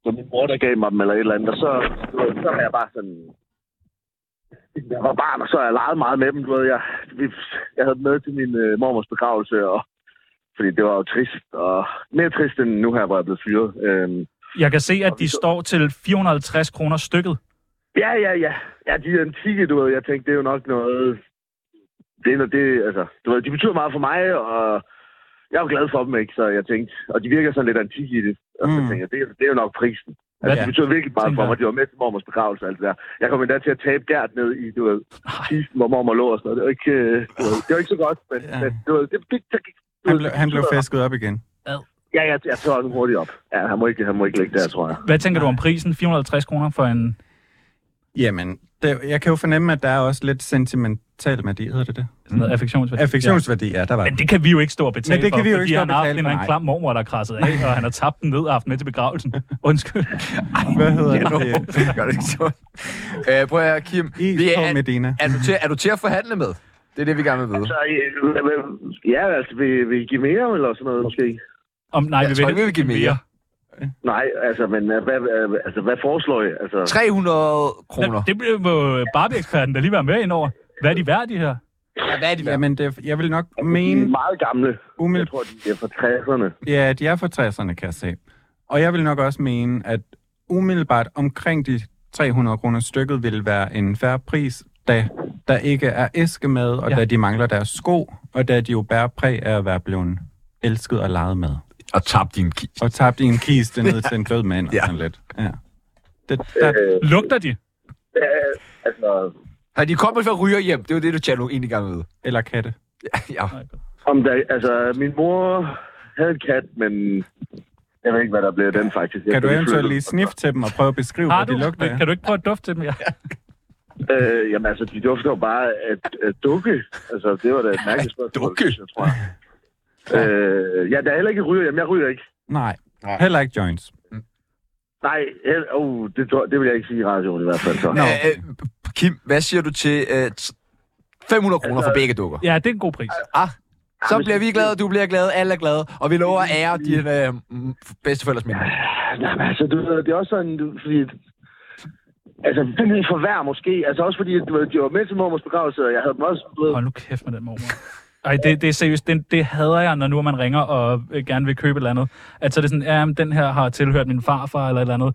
S10: det var min mor, der gav mig dem, eller et eller andet. Og så, du ved, så har jeg bare sådan... Jeg var barn, og så har jeg leget meget med dem, du ved. Jeg, vi- jeg havde dem med til min øh, mormors begravelse, og, fordi det var jo trist. Og mere trist end nu her, hvor jeg er blevet fyret. Øh,
S2: Jeg kan se, at de står til 450 kroner stykket.
S10: Ja, ja, ja. Ja, de er antikke, du ved. Jeg tænkte, det er jo nok noget... Det er noget, det, altså, du ved, de betyder meget for mig, og jeg er jo glad for dem, ikke? Så jeg tænkte, og de virker sådan lidt antikke i det. Og så
S4: Mm.
S10: tænkte jeg, det, er- det er jo nok prisen.
S2: Hvad-
S10: Altså, det betyder virkelig meget
S2: tænker
S10: for
S2: jeg.
S10: mig. De var med til mormors begravelse og alt det der. Jeg kom endda til at tabe gært ned i, du ved, kisten, hvor mormor lå og sådan noget. Det var ikke, øh, du ved, det var ikke så godt, men,
S4: Ja.
S10: men du ved, det, det, det, det, du
S4: Han
S10: ved,
S4: blev,
S10: det
S4: han blev
S10: betyder-
S4: fisket op igen.
S10: Ja, jeg, jeg tør den hurtigt op. Ja, han må ikke, han må ikke ligge der, tror jeg.
S2: Hvad tænker du om prisen? 450 kroner for en...
S4: Jamen, det, jeg kan jo fornemme, at der er også lidt sentimental værdi, hedder det det?
S2: Sådan noget affektionsværdi.
S4: Affektionsværdi, ja, der var
S2: Men det kan vi jo ikke stå og betale
S4: Men det kan
S2: for,
S4: vi jo ikke
S2: fordi
S4: stå og
S2: han har haft
S4: betale
S2: en eller
S4: for,
S2: anden
S4: nej.
S2: klam mormor, der har krasset af, og han har tabt den ned og haft den med til begravelsen. Undskyld.
S4: Hvad hedder
S1: Ja, nu
S4: det?
S1: gør det ikke så. Øh, prøv at høre, Kim.
S4: Is på
S1: er,
S4: Medina.
S1: er, du til, er du til at forhandle med? Det er det, vi gerne vil vide.
S10: Så, øh, ja, altså, vil, vil I give mere, eller sådan noget, måske?
S2: Om, nej,
S1: Jeg
S2: vi
S1: tror
S2: vil
S1: ikke, vi vil give mere.
S10: Nej, altså, men øh, hvad, øh, altså, hvad foreslår I? Altså,
S1: 300 kroner.
S2: Det, det bliver jo Barbie-eksperten, der lige være med indover. Hvad er de værd, de her?
S1: Hvad er de
S4: Jamen, det, jeg vil nok
S10: de er
S4: mene
S10: meget gamle. Jeg
S4: umiddelbart,
S10: tror, de er fra 60'erne.
S4: ja, de er fra 60'erne, kan jeg se. Og jeg vil nok også mene, at umiddelbart omkring de 300 kroner stykket vil være en færre pris, da der ikke er æske med, og
S2: Ja.
S4: ja. da de mangler deres sko, og da de jo bærer præg af at være blevet elsket og leget med.
S1: Og tab din kiste.
S4: Og tabt i en kiste ned til en død mand og
S1: Ja.
S4: sådan lidt. Ja. Det, der,
S2: Lugter de?
S10: Øh, altså,
S1: Har de kommet for at ryge hjem? Det er jo det, du tjener egentlig gerne vil vide.
S4: eller katte.
S1: Ja.
S10: om der, altså, min mor havde en kat, men jeg ved ikke, hvad der blev af den faktisk. Jeg
S4: Kan du
S10: blev
S4: eventuelt
S10: flyttet.
S4: lige sniffe til dem og prøve at beskrive,
S2: Har
S4: hvad de
S2: du?
S4: lugter af?
S2: Kan du ikke prøve at dufte til dem? Ja.
S10: Øh, jamen altså, de dufter jo bare af, af dukke. Altså, det var da et mærkeligt spørgsmål.
S1: dukke?
S10: synes Jeg tror jeg. Øh, ja, der er heller ikke ryger. Jamen, jeg ryger ikke.
S4: Nej, heller ikke joints.
S10: Nej, hel, oh, det, tror- det vil jeg ikke sige i radioen i hvert fald. Så.
S1: Nå. Øh, Kim, hvad siger du til øh, t- 500 kroner
S10: Altså,
S1: for begge dukker?
S2: ja, det er en god pris.
S1: Ah, så
S10: Jamen,
S1: bliver
S10: så-
S1: vi glade, du bliver glad, alle er glade. Og vi lover at ære dine øh, mm, bedsteforældres minder.
S10: Nej, men altså, du ved, det er også sådan, du- fordi... Altså, den her forvær måske. Altså, også fordi, du ved, de var med til mormors begravelse, og jeg havde dem også, du ved...
S2: Hold nu kæft med den mormor. Ej, det, det er seriøst, det, det hader jeg, når nu at man ringer og øh, gerne vil købe et eller andet. Altså, det er sådan, ja, jamen, den her har tilhørt min farfar eller et eller andet.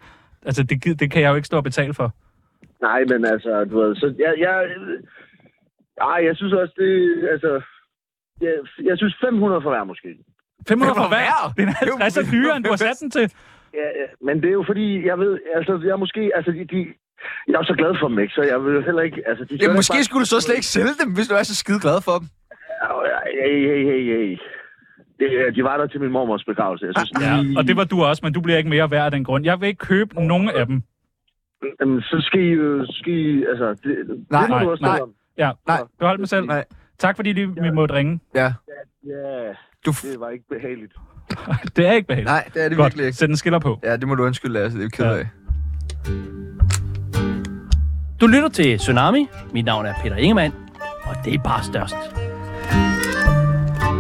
S2: Altså, det, gid- det kan jeg jo ikke stå og betale for.
S10: Nej, men altså, du ved, så jeg... jeg ej, jeg synes også, det... Altså, jeg, jeg synes 500 for hver måske.
S2: 500 for
S1: for
S2: hver?
S1: hver?
S2: Det er 50 er dyrere, end du har sat den til.
S10: Ja, ja, men det er jo fordi, jeg ved, altså, jeg er måske... Altså, de, de, jeg er jo så glad for dem, ikke? Så jeg vil heller ikke... Altså, de
S1: Ja,
S10: skal jo
S1: måske
S10: ikke
S1: skulle du så slet ikke sælge dem, hvis du er så skide glad for dem.
S10: bare- Ej, ej, ej, ej, ej. Det, de var der til min mormors
S1: Ah,
S10: begravelse. Jeg synes,
S2: Ja, og det var du også, men du bliver ikke mere værd af den grund. Jeg vil ikke købe nogen af dem.
S10: Jamen, så skal I, øh, skal I altså, det, det må du også tale om.
S2: Ja, nej. Behold mig selv.
S1: Nej.
S2: Tak fordi lige, vi måtte ringe.
S1: Ja.
S10: Ja,
S1: du
S10: det var ikke behageligt.
S2: Det er ikke behageligt.
S1: Øh, Nej, det er det
S2: Godt.
S1: virkelig ikke.
S2: Sæt en skiller på.
S1: Ja, det må du undskylde, Lasse. Det er vi ked af.
S11: Du lytter til Tsunami. Mit navn er Peter Ingemann, og det er bare størst.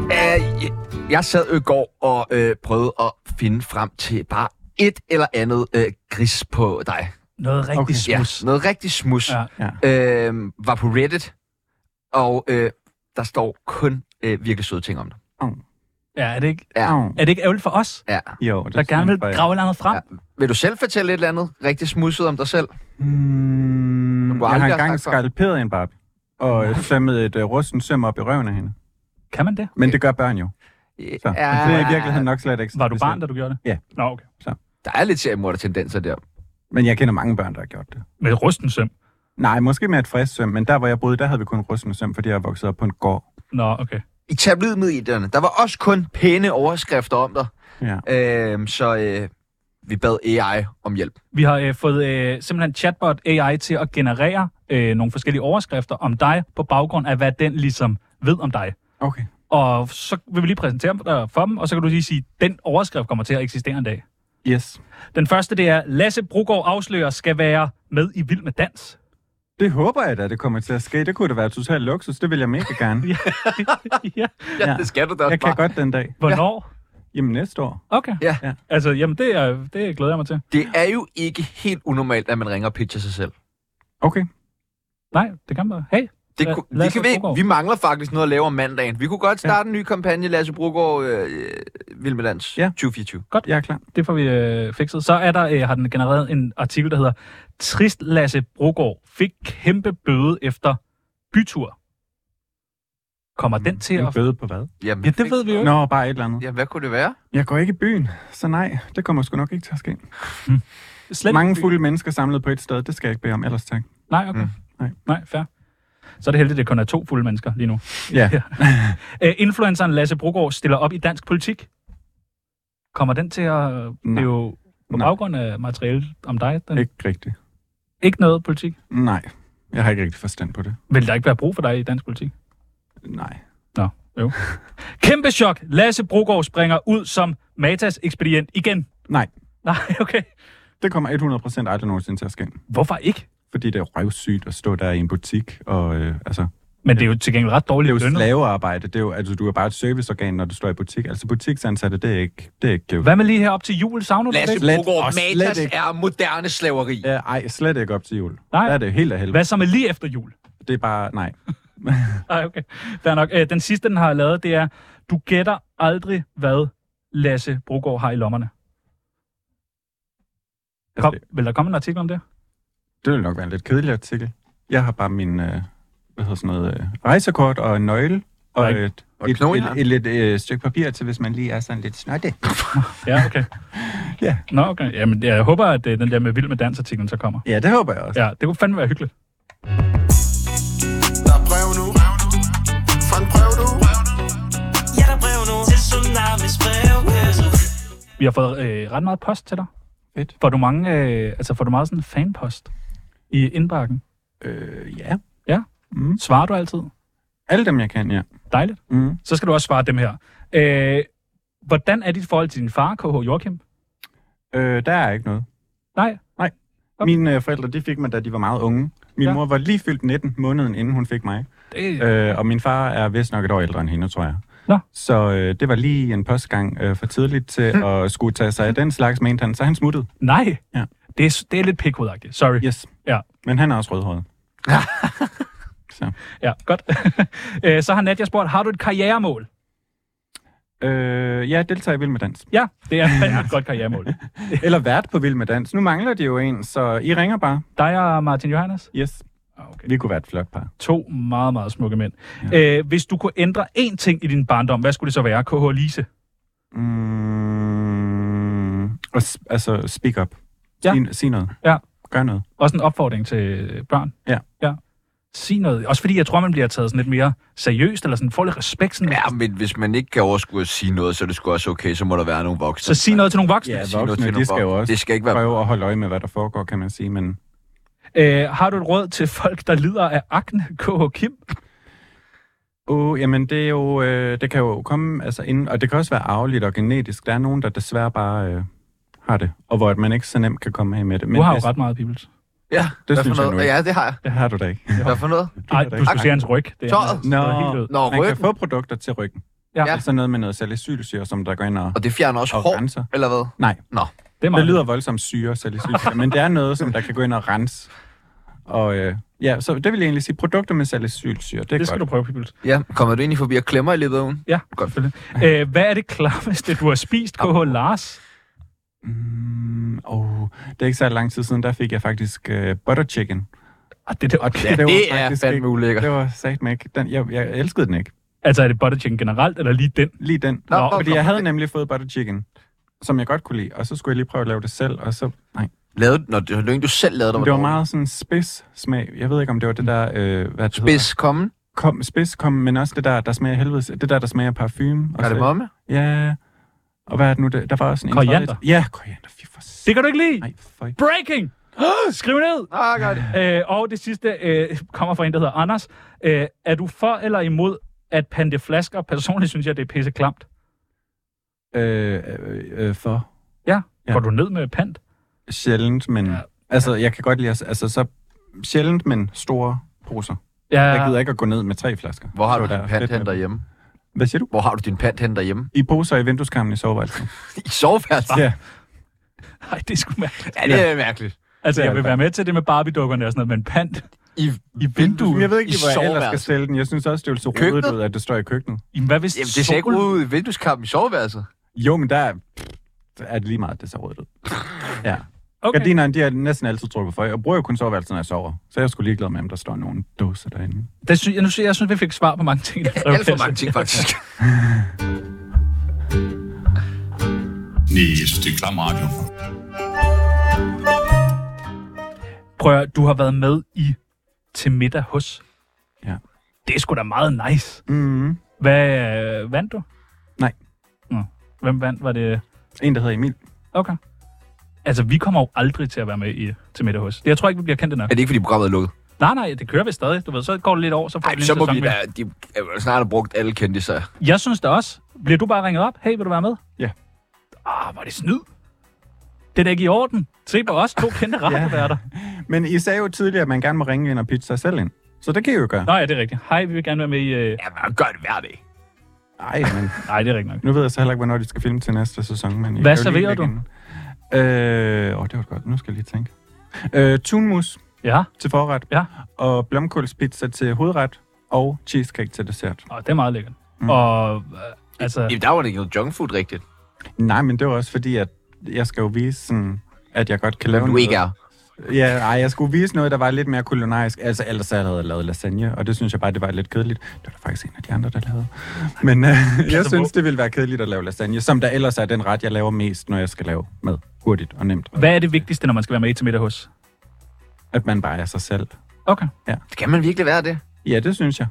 S1: Øh, jeg- Jeg sad jo i går og øh, prøvede at finde frem til bare et eller andet øh, gris på dig.
S2: Noget rigtig okay.
S1: Ja,
S2: smus.
S1: noget rigtig smus.
S2: Ja.
S1: Ja. Øh, var på Reddit, og øh, der står kun øh, virkelig søde ting om dig.
S2: Ja, er det ikke,
S1: Ja.
S2: er det ikke ærgerligt for os,
S1: Ja.
S4: Jo, det
S2: der gerne vil grave et eller andet frem?
S1: Vil du selv fortælle et eller andet rigtig smusset om dig selv?
S4: Mm,
S1: må
S4: jeg
S1: aldrig
S4: har
S1: have
S4: engang
S1: sagt før.
S4: skalperet en barb, og øh, sømmet et uh, rusten søm op i røven af hende.
S2: Kan man det?
S4: Men det gør børn jo. Så.
S1: Ja.
S4: Ja. Det er i virkeligheden nok slet ikke.
S2: Var du barn, da du gjorde det?
S4: Ja.
S2: Nå, okay.
S1: Der er lidt seriemorder-tendenser der.
S4: Men jeg kender mange børn, der har gjort det.
S2: Med rusten søm?
S4: Nej, måske med et frisk søm, men der, hvor jeg boede, der havde vi kun rusten søm, fordi jeg voksede op på en gård.
S2: Nå, okay.
S1: I tabloidmedierne, der var også kun pæne overskrifter om dig.
S4: Ja.
S1: Øh, så øh, vi bad AI om hjælp.
S2: Vi har øh, fået øh, simpelthen chatbot AI til at generere øh, nogle forskellige overskrifter om dig, på baggrund af, hvad den ligesom ved om dig.
S4: Okay.
S2: Og så vil vi lige præsentere dig for dem, og så kan du lige sige, at den overskrift kommer til at eksistere en dag.
S4: Yes.
S2: Den første, det er, Lasse Brogaard afslører skal være med i Vild med Dans.
S4: Det håber jeg da, det kommer til at ske. Det kunne da være totalt luksus. Det vil jeg mega gerne.
S2: ja. ja.
S1: Ja, det skal du da også
S4: Jeg kan
S1: bare.
S4: godt den dag.
S2: Hvornår?
S4: Jamen næste år.
S2: Okay.
S1: Ja.
S4: Ja.
S2: Altså, jamen, det, er, det glæder jeg mig til.
S1: Det er jo ikke helt unormalt, at man ringer og pitcher sig selv.
S4: Okay.
S2: Nej, det kan man. Hey,
S1: Det
S2: La-
S1: kunne, vi,
S2: Lasse
S1: kan, vi,
S2: Brogaard.
S1: vi mangler faktisk noget at lave om mandagen. Vi kunne godt starte ja. en ny kampagne, Lasse Brogaard, øh, Vilmelands ja.
S4: Ja.
S1: 2024.
S2: godt.
S4: Jeg er klar.
S2: Det får vi øh, fikset. Så er der, øh, har den genereret en artikel, der hedder Trist Lasse Brogaard fik kæmpe bøde efter bytur. Kommer den til
S4: En
S2: at...
S4: bøde på hvad?
S1: Jamen,
S2: Ja, det ved vi jo ikke.
S4: Nå, bare et eller andet.
S1: Ja, hvad kunne det være?
S4: Jeg går ikke i byen, så nej, det kommer sgu nok ikke til at ske.
S2: Slet
S4: Mange
S2: ikke.
S4: fulde mennesker samlet på et sted, det skal jeg ikke bede om, ellers tak.
S2: Nej, okay.
S1: Mm.
S2: Nej.
S4: Nej.
S2: Nej, fair. Så er det heldigt, at det kun er to fulde mennesker lige nu.
S4: Ja.
S2: Æ, Øh, influenceren Lasse Brogaard stiller op i dansk politik. Kommer den til at... Det er jo på
S4: Nej.
S2: baggrund af materiale om dig. Den, ikke.
S4: Ikke rigtigt.
S2: ikke noget politik.
S4: Nej, jeg har ikke rigtig forstand på det.
S2: Vil der ikke være brug for dig i dansk politik?
S4: Nej.
S2: Nå, jo. Kæmpe chok. Lasse Brogaard springer ud som Matas ekspedient igen.
S4: Nej,
S2: Nej, okay.
S4: det kommer 100% aldrig nogensinde til at ske.
S2: Hvorfor ikke?
S4: Fordi det er røvsygt at stå der i en butik, og øh, altså,
S2: Men det er jo til gengæld ret
S4: det er
S2: dårligt
S4: jo
S2: lønnet.
S4: slavearbejde. Det er jo, altså, du er bare et serviceorgan, når du står i butik. Altså, butiksansatte, det er ikke... Det er ikke
S2: Hvad med lige her op til jul? Savner du
S1: Lasse
S2: det?
S4: slet-
S1: Brogaard,
S4: og slet
S1: Matas
S4: ikke.
S1: er moderne slaveri.
S4: Ja, ej, slet ikke op til jul.
S2: Nej.
S4: Der er det helt af helvede.
S2: Hvad så med lige efter jul?
S4: Det er bare... Nej.
S2: Nej, okay. Der nok. Æ, den sidste, den har jeg lavet, det er, du gætter aldrig, hvad Lasse Brogaard har i lommerne. Kom,
S4: Altså,
S2: vil der komme en artikel om det?
S4: Det ville nok være en lidt kedelig artikel. Jeg har bare min, øh, hvad hedder sådan noget, øh, rejsekort og en nøgle. Og
S2: Nej.
S4: et,
S1: Og
S4: et, et,
S1: knoglejern.
S4: et, et, lidt, øh, stykke papir til, hvis man lige er sådan lidt snotte.
S2: Ja, okay.
S4: Ja.
S2: Nå, okay. Jamen, jeg håber, at øh, den der med Vild med Dans-artiklen så kommer.
S4: Ja, det håber jeg også.
S2: Ja, det kunne fandme være hyggeligt.
S7: Der er brev nu. Fra en brev du.
S6: Ja, der er brev nu til Tsunamis brevkasse.
S2: Vi har fået øh, ret meget post til dig.
S4: Fedt.
S2: Får du mange, øh, altså får du meget sådan fanpost i indbakken?
S4: Ja. Øh, ja.
S2: Ja.
S4: Mm.
S2: Svarer du altid?
S4: Alle dem, jeg kan, ja.
S2: Dejligt.
S4: Mm.
S2: Så skal du også svare dem her. Øh, hvordan er dit forhold til din far, KH Joachim?
S4: Øh, der er ikke noget.
S2: Nej. Okay.
S4: Okay. Mine øh, forældre, de fik mig, da de var meget unge. Min
S2: Ja.
S4: ja. mor var lige fyldt 19 måneden, inden hun fik mig.
S2: Det,
S4: Øh, og min far er vist nok et år ældre end hende, tror jeg.
S2: Nå.
S4: Så øh, det var lige en postgang øh, for tidligt
S2: Hm.
S4: til at skulle tage sig af den slags, mente han. Så han smuttede.
S2: Nej.
S4: Ja.
S2: Det, er, det er lidt pikhovedagtigt. Sorry.
S4: Yes.
S2: Ja.
S4: Men han er også rødhåret. så.
S2: Ja, godt. Øh, så har Nadia spurgt, har du et karrieremål?
S4: Øh, ja, deltager i Vild Med Dans.
S2: Ja, det er fandme et godt karrieremål.
S4: Eller vært på Vild Med Dans. Nu mangler de jo en, så I ringer bare.
S2: Dig og Martin Johannes? Ah,
S4: Yes.
S2: Okay.
S4: Vi kunne være et flot par.
S2: To meget, meget smukke mænd. Ja. Øh, hvis du kunne ændre én ting i din barndom, hvad skulle det så være? KH Lise?
S4: Mm, og s- altså, speak up.
S2: Ja.
S4: Sig, sig noget.
S2: Ja.
S4: Gør noget.
S2: Også en opfordring til børn.
S4: Ja.
S2: ja. Sig noget. Også fordi jeg tror, man bliver taget sådan lidt mere seriøst, eller sådan får lidt respekt. Sådan
S1: Ja, men hvis man ikke kan overskue at sige noget, så er det sgu også okay, så må der være nogle voksne.
S2: Så sig noget til nogle voksne.
S4: Ja,
S1: Sig noget til
S4: voksne,
S1: nogle
S4: de skal jo
S1: voksne.
S4: også
S1: Det skal ikke være-
S4: prøve at holde øje med, hvad der foregår, kan man sige, men
S2: Øh, har du et råd til folk, der lider af akne, KH Kim?
S4: Uh, jamen, det, er jo, øh, det kan jo komme, altså inden, og det kan også være arveligt og genetisk. Der er nogen, der desværre bare øh, har det, og hvor at man ikke så nemt kan komme af med det.
S2: Du har jo
S4: hvis-
S2: ret meget, Bibels.
S1: Ja,
S4: det
S1: hvad for
S4: synes jeg
S1: noget?
S4: nu ikke.
S1: Ja, det har jeg.
S4: Det har du da ikke.
S1: Hvad for noget?
S2: Nej, du skulle se hans ryg. Det er
S1: Tøjet?
S4: Nå,
S2: noget helt ud.
S1: Nå,
S4: man kan
S1: ryggen.
S4: få produkter til ryggen.
S2: Ja.
S4: Ja. Sådan noget med noget salicylsyre, som der går ind og...
S1: Og det fjerner også
S4: og
S1: hår,
S4: renser.
S1: eller hvad?
S4: Nej,
S1: Nå.
S2: det, er
S4: det
S2: meget
S4: lyder voldsomt syre, salicylsyre, men det er noget, som der kan gå ind og rense. Og øh, ja, så det vil jeg egentlig sige, produkter med salicylsyre, det er
S2: Det skal du
S4: godt.
S2: prøve, Pibels.
S1: Ja, kommer du egentlig forbi og klemmer i løbet af ugen?
S2: Ja,
S1: Godt.
S2: selvfølgelig. Øh, hvad er det klammeste, du har spist, KH Lars?
S4: Mm, oh, det er ikke så lang tid siden, der fik jeg faktisk øh, butter chicken.
S2: Ah, det er da
S4: Og
S2: okay.
S4: var
S1: det er
S4: faktisk
S1: fandme
S4: ikke-
S1: ulækkert.
S4: Det var sagt ikke. Den, jeg, jeg elskede den ikke.
S2: Altså, er det butter chicken generelt, eller lige den?
S4: Lige den.
S1: Nå,
S4: Nå,
S1: nå,
S4: fordi
S1: nå.
S4: jeg havde nemlig fået butter chicken, som jeg godt kunne lide, og så skulle jeg lige prøve at lave det selv, og så... Nej.
S1: Lavede, når det var løgn, du selv lavede, der
S4: Det var
S1: dårligt.
S4: meget sådan spids smag. Jeg ved ikke, om det var det der... Øh, hvad det
S1: Spids kommen.
S4: Hedder. Kom, spids kom, men også det der, der smager af helvede. Det der, der smager af parfume. Og
S1: Er det
S4: så-
S1: momme?
S4: Ja. Og hvad er det nu? Det, der var også en...
S2: Koriander.
S4: Ja, koriander. Fy for s-
S2: Det kan du ikke lide!
S4: Nej, for...
S2: Breaking! Skriv ned!
S1: Ah, godt.
S2: Øh, og det sidste øh, kommer fra en, der hedder Anders. Øh, er du for eller imod at pante flasker? Personligt synes jeg, det er pisse klamt.
S4: Øh, øh, øh, for...
S2: Ja.
S4: Ja.
S2: Går du ned med pant?
S4: Sjældent, men...
S2: Ja.
S4: Ja. Altså, jeg kan godt lide... at- Altså, så sjældent, men store poser.
S2: Ja,
S4: Ja. Jeg gider ikke at gå ned med tre flasker.
S1: Hvor har
S4: Det
S1: du
S4: var
S1: din
S4: der
S1: pant
S4: fedt med
S1: hen
S4: dem.
S1: derhjemme?
S4: Hvad siger du?
S1: Hvor har du din pant hen derhjemme?
S4: I poser i vindueskarmen i soveværelset.
S1: I soveværelset?
S4: ja.
S2: Nej, det er sgu mærkeligt.
S1: Ja, det er mærkeligt.
S2: Altså,
S4: det er
S2: jeg vil
S4: det
S2: være med til det med Barbie-dukkerne og sådan noget, men pant
S1: I,
S2: i vinduet?
S4: Jeg ved ikke,
S1: I
S4: lige, hvor jeg ellers skal
S1: soveværelset.
S4: stille den. Jeg synes også, det er jo så rodet
S1: Køkkenet?
S4: ud, at det står i køkkenet.
S2: Jamen, hvad hvis
S1: Jamen, det ser ikke
S2: solen-
S1: ud i vindueskampen i soveværelset.
S4: Jo, men der er, der er det lige meget, det ser rodet ud. Ja. Okay.
S2: Okay.
S4: Gardinerne, de er næsten altid trukket for. Jeg bruger jo kun soveværelset, når jeg sover. Så jeg skulle ligeglad med, om der står nogen dåser derinde.
S2: Det sy- jeg, nu sy- jeg synes, vi fik svar på mange ting.
S1: Alt for mange ting, faktisk.
S12: Nej, jeg synes, det er klam radio.
S2: Prøv at, du har været med i til middag hos.
S4: Ja.
S2: Det er sgu da meget nice.
S4: Mm-hmm.
S2: Hvad øh, vandt du?
S4: Nej.
S2: Nå. Hvem vandt? Var det...
S4: En, der hedder Emil.
S2: Okay. Altså, vi kommer jo aldrig til at være med i til middag hos. Jeg tror ikke, vi bliver kendt nok.
S1: Er det ikke, fordi programmet er lukket?
S2: Nej, nej, det kører vi stadig. Du ved, så går det lidt over, så får
S1: Nej,
S2: vi lige
S1: så
S2: en
S1: må
S2: sæson
S1: vi da...
S2: mere.
S1: De er jo snart har brugt alle kendte sig.
S2: Jeg synes da også. Bliver du bare ringet op? Hey, vil du være med?
S4: Ja.
S2: Ah, var det snyd? Det er da ikke i orden. Se på os to kendte radioværter.
S4: Men I sagde jo tidligere, at man gerne må ringe ind og pitche sig selv ind. Så det kan I jo gøre.
S2: Nå ja, det er rigtigt. Hej, vi vil gerne være med i... Øh...
S1: Ja, man gør det hver dag.
S4: Nej, men
S2: Nej, det er rigtigt nok.
S4: nu ved jeg så heller ikke, hvornår de skal filme til næste sæson. Men I
S2: Hvad
S4: kan jo lige
S2: serverer
S4: lægge en- Øh, åh, det var godt. Nu skal jeg lige tænke. Øh, tunmus
S2: Ja,
S4: til forret.
S2: Ja.
S4: Og blomkålspizza til hovedret. Og cheesecake til dessert.
S2: og det er meget lækkert. Mm.
S4: Mm.
S2: Og øh, altså,
S1: Jamen, der var det ikke noget junk food rigtigt.
S4: Nej, men det var også fordi, at jeg skal jo vise sådan, at jeg godt kan lave
S1: Du
S4: noget.
S1: ikke er.
S4: Ja, nej, jeg skulle vise noget, der var lidt mere kulinarisk. Altså, ellers havde jeg lavet lasagne, og det synes jeg bare, det var lidt kedeligt. Det var der faktisk en af de andre, der lavede. Men øh, jeg synes, det ville være kedeligt at lave lasagne, som der ellers er den ret, jeg laver mest, når jeg skal lave med hurtigt og nemt.
S2: hvad er det vigtigste, når man skal være med i til middag hos?
S4: At man bare er sig selv.
S2: Okay.
S1: Kan man virkelig være det?
S4: Ja, det synes jeg.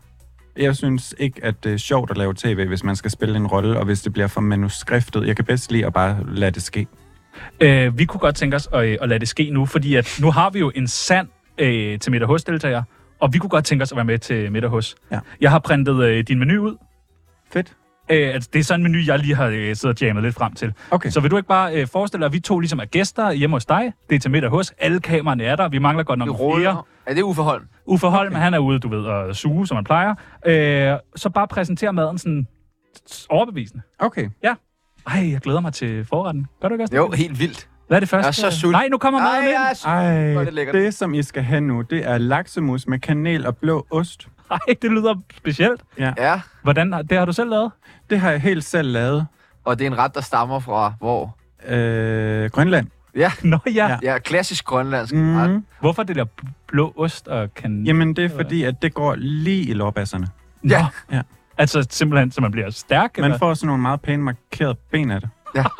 S4: Jeg synes ikke, at det er sjovt at lave tv, hvis man skal spille en rolle, og hvis det bliver for manuskriptet. Jeg kan bedst lide at bare lade det ske.
S2: Øh, vi kunne godt tænke os at, øh, at lade det ske nu, fordi at nu har vi jo en sand øh, til middag hos deltager, og vi kunne godt tænke os at være med til middag hos.
S4: Ja.
S2: Jeg har printet øh, din menu ud.
S4: Fedt.
S2: Øh, altså, det er sådan en menu, jeg lige har øh, siddet og jammet lidt frem til.
S4: Okay.
S2: Så vil du ikke bare øh, forestille dig, at vi to ligesom er gæster hjemme hos dig? Det er til middag hos. Alle kameraerne er der. Vi mangler godt nok
S1: Du
S2: flere.
S1: råder. Er det uforhold?
S2: Uffe Holm, okay. han er ude, du ved, og suge, som man plejer. Øh, så bare præsentere maden sådan overbevisende.
S4: Okay.
S2: Ej, jeg glæder mig til forretten. Gør du ikke også det?
S1: Jo, helt vildt.
S2: Hvad er det første?
S1: Jeg er så sulten.
S2: Nej, nu kommer
S1: Ej,
S2: maden ind.
S1: jeg er sulten. Hvor
S4: Ej,
S1: er det lækkert.
S4: det som I skal have nu, det er laksemus med kanel og blå ost.
S2: Ej, det lyder specielt.
S1: Ja,
S2: Hvordan, har- det har du selv lavet?
S4: Det har jeg helt selv lavet.
S1: og det er en ret, der stammer fra hvor?
S4: Øh, Grønland.
S2: Nå ja. ja.
S4: Ja.
S1: Ja, klassisk grønlandsk mm. ret.
S4: Mm.
S2: Hvorfor det der bl- blå ost og kan...
S4: Jamen, det er fordi, at det går lige i lårbasserne.
S2: Nå.
S1: Ja.
S4: Ja.
S2: Altså simpelthen, så man bliver stærk. Man
S4: Man
S2: får...
S4: får sådan nogle meget pæne markerede ben af det.
S2: Det har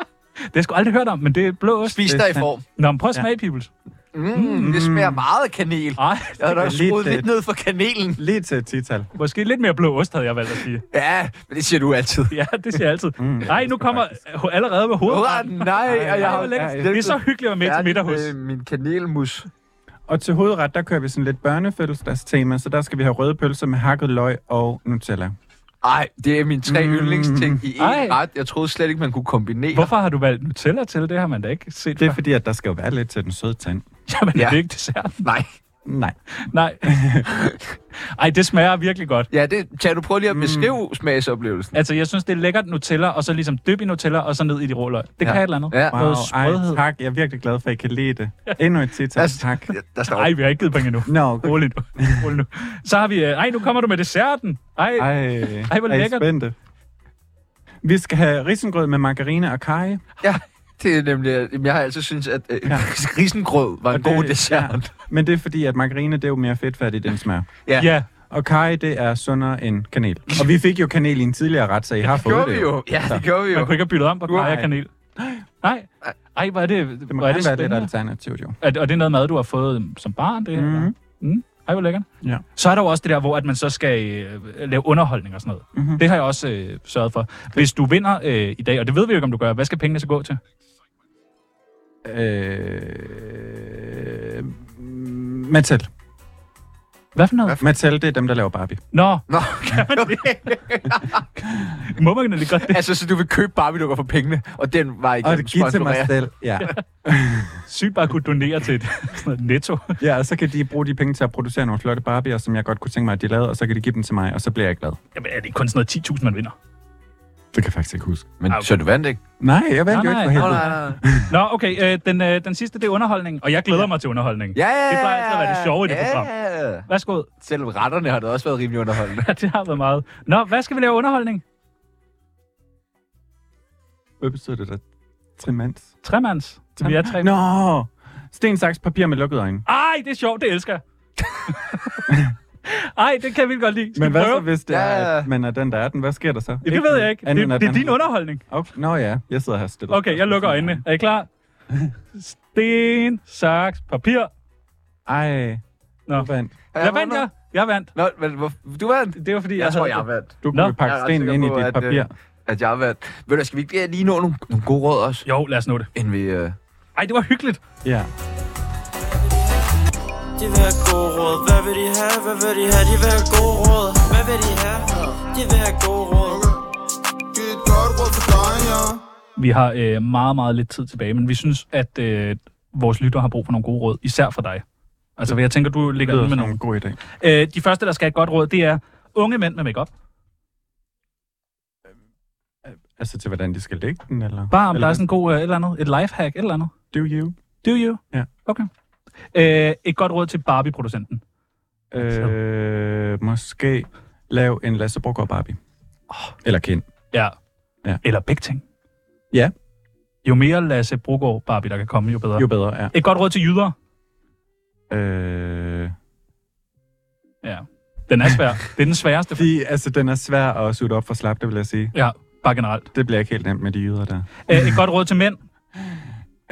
S2: jeg sgu aldrig hørt om, men det er blå ost.
S1: Spis
S4: Det er
S1: dig i
S4: sandt.
S1: form.
S2: Nå, men prøv at smage, peoples.
S1: Mm, det smager meget af kanel.
S2: Ej,
S1: Jeg har da
S4: er
S1: også
S4: lidt,
S1: skruet Ah, lidt
S4: øh,
S1: ned for kanelen.
S4: Lige til et tital.
S2: måske lidt mere blå ost, havde jeg valgt at sige.
S1: Ja, men det siger du altid.
S2: Ja, det siger jeg altid.
S4: Mm,
S2: Nej,
S4: det
S2: nu
S4: skal
S2: kommer
S4: faktisk-
S2: ho- allerede med hovedet.
S1: Åh, nej, og jeg
S2: Ej,
S1: har
S2: hvor lækkert.
S1: jeg-
S2: Det er så hyggeligt at være med til middag hos.
S1: øh, min kanelmus.
S4: Og til hovedret, der kører vi sådan lidt børnefødselsdagstema, så der skal vi have røde pølser med hakket løg og Nutella.
S1: Ej, det er mine tre mm. yndlingsting i én ret. Jeg troede slet ikke, man kunne kombinere.
S2: Hvorfor har du valgt Nutella til? Det har man da ikke set
S4: Det er fordi, at der skal jo være lidt til den søde tand.
S2: Jamen, ja. er det ikke dessert?
S1: Nej.
S4: Nej.
S2: Nej. Ej, det smager virkelig godt.
S1: Ja, det, kan du prøve lige at beskrive mm. smagsoplevelsen?
S2: Altså, jeg synes, det er lækkert Nutella, og så ligesom dyb i Nutella, og så ned i de rå løg. Det
S1: Ja.
S2: kan et eller andet.
S1: Ja.
S2: Noget
S4: Ej,
S2: sprødhed.
S4: tak. Jeg er virkelig glad for, at I kan lide det. Endnu et tital. Tak.
S1: Der står...
S2: Ej, vi har ikke givet point endnu.
S4: Nå, okay.
S2: Rolig nu. Rolig nu. Så har vi... øh, Ej, nu kommer du med desserten. Ej,
S4: Ej,
S2: Ej
S4: Ej
S2: hvor
S4: er I
S2: lækkert.
S4: Spændte. Vi skal have risengrød med margarine og karry.
S1: Ja, det er nemlig... Jamen, jeg har altid syntes, at øh, ja. risengrød var en
S4: Og
S1: god
S4: det-
S1: dessert.
S4: Men det er fordi, at margarine, det er jo mere fedtfattigt end smør.
S1: Ja.
S2: Ja.
S4: Og karry, det er sundere end kanel. Og vi fik jo kanel i en tidligere ret, så I har
S1: Det
S4: fået
S1: gjorde
S4: det.
S1: vi jo. Ja, det gjorde vi jo.
S2: Man kunne ikke have byttet om på
S1: Nej.
S2: kaj og kanel. Nej. Ej, hvor er det,
S4: Det må
S2: hvor er det
S4: gerne være lidt
S2: spændende.
S4: alternativt, jo.
S2: Er, og det er noget mad, du har fået øhm, som barn, det her?
S4: Mhm.
S2: eller? Mm. Ej, hvor lækkert.
S4: Ja.
S2: Så er der jo også det der, hvor at man så skal øh, lave underholdning og sådan noget.
S4: Mhm.
S2: Mm-hmm. Det har jeg også øh, sørget for. Hvis du vinder øh, i dag, og det ved vi jo ikke, om du gør, hvad skal pengene så gå til?
S4: Øh... Mattel.
S2: Hvad for noget?
S4: Mattel, det er dem, der laver Barbie.
S2: Nå,
S1: Nå,
S2: kan man det? Må man det godt det?
S1: Altså, så du vil købe Barbie-dukker for pengene, og den var ikke
S4: Og det giver til mig selv. Ja.
S2: Sygt bare at kunne donere til et sådan noget netto.
S4: ja, og så kan de bruge de penge til at producere nogle flotte Barbier, som jeg godt kunne tænke mig, at de lavede, og så kan de give dem til mig, og så bliver jeg glad.
S2: Jamen, er det kun sådan noget 10.000, man vinder?
S4: Det kan jeg faktisk ikke huske.
S1: Men så du vandt ikke?
S4: Nej, jeg vandt
S2: Nej,
S4: jo ikke
S2: nej.
S1: Ah,
S4: for
S1: Nå,
S4: helvede.
S1: nej, nej. nej.
S2: Nå, okay. Øh, den, øh, den sidste, det er underholdning, og jeg glæder mig til underholdning.
S1: Ja, ja,
S2: Det plejer altid at være det sjove i det
S1: ja.
S2: program. Værsgo.
S1: Selvom retterne har det også været rimelig underholdende.
S2: Ja, det har været meget. Nå, hvad skal vi lave underholdning?
S4: Hvad betyder det der? Trimans?
S2: Tremands. Vi er tre.
S4: Nå! Sten, saks, papir med lukkede øjne.
S2: Ej, det er sjovt, det elsker jeg. Ej, det kan jeg vildt godt lide. Skal
S4: Men
S2: vi
S4: hvad så,
S2: prøve?
S4: hvis det er,
S1: Ja.
S4: at man er den, der er den? Hvad sker der så?
S2: Ja, det ved jeg ikke.
S4: Andet
S2: Det,
S4: end, at
S2: det er
S4: han-
S2: din underholdning.
S4: Okay. Nå ja, jeg sidder her stille.
S2: Okay, jeg lukker øjnene. Er I klar? Sten, saks, papir.
S4: Ej,
S2: Nå,
S4: du vandt.
S1: Har
S2: jeg vandt jeg. Jeg vandt.
S1: Nå, men hvor, du vandt?
S2: Det var fordi, jeg,
S1: Jeg tror,
S2: havde-
S1: jeg vandt.
S4: Du
S2: Nå,
S4: kunne jo pakke
S1: Jeg er ret
S4: stenen
S1: sikker
S4: ind i
S1: på,
S4: dit
S1: at, øh,
S4: papir.
S1: At jeg vandt. Ved du, skal vi ikke lige nå nogle, nogle gode råd også?
S2: Jo, lad os nå det.
S1: Inden vi... Øh...
S2: Ej, det var hyggeligt.
S4: Ja.
S6: De vil have gode råd Hvad vil de have? Hvad vil de have? De vil have gode råd Hvad vil de have? De vil have gode råd
S7: Giv et godt råd til dig, ja.
S2: Vi har øh, meget, meget lidt tid tilbage, men vi synes, at øh, vores lytter har brug for nogle gode råd, især for dig. Altså, hvad jeg tænker, du
S4: Det
S2: ligger
S4: lyder
S2: inde med
S4: som en
S2: nogle.
S4: god idé.
S2: Øh, de første, der skal have et godt råd, det er unge mænd med makeup.
S4: Altså til, hvordan de skal lægge den, eller?
S2: Bare om
S4: eller
S2: der er sådan en god øh, et eller andet, et lifehack, et eller andet.
S4: Do you?
S2: Do you?
S4: Ja.
S2: Okay. Øh, et godt råd til Barbie-producenten.
S4: Øh, måske lav en Lasse Brugger Barbie. Eller Ken.
S2: Ja.
S4: Ja.
S2: Eller begge ting.
S4: Ja.
S2: Jo mere Lasse Brogaard Barbie, der kan komme, jo bedre.
S4: Jo bedre, ja.
S2: Et godt råd til jyder.
S4: Øh,
S2: Ja. Den er svær. det er den sværeste.
S4: de, altså, den er svær at sutte op for slap, det vil jeg sige.
S2: Ja, bare generelt.
S4: Det bliver ikke helt nemt med de yder der.
S2: Øh, et godt råd til mænd.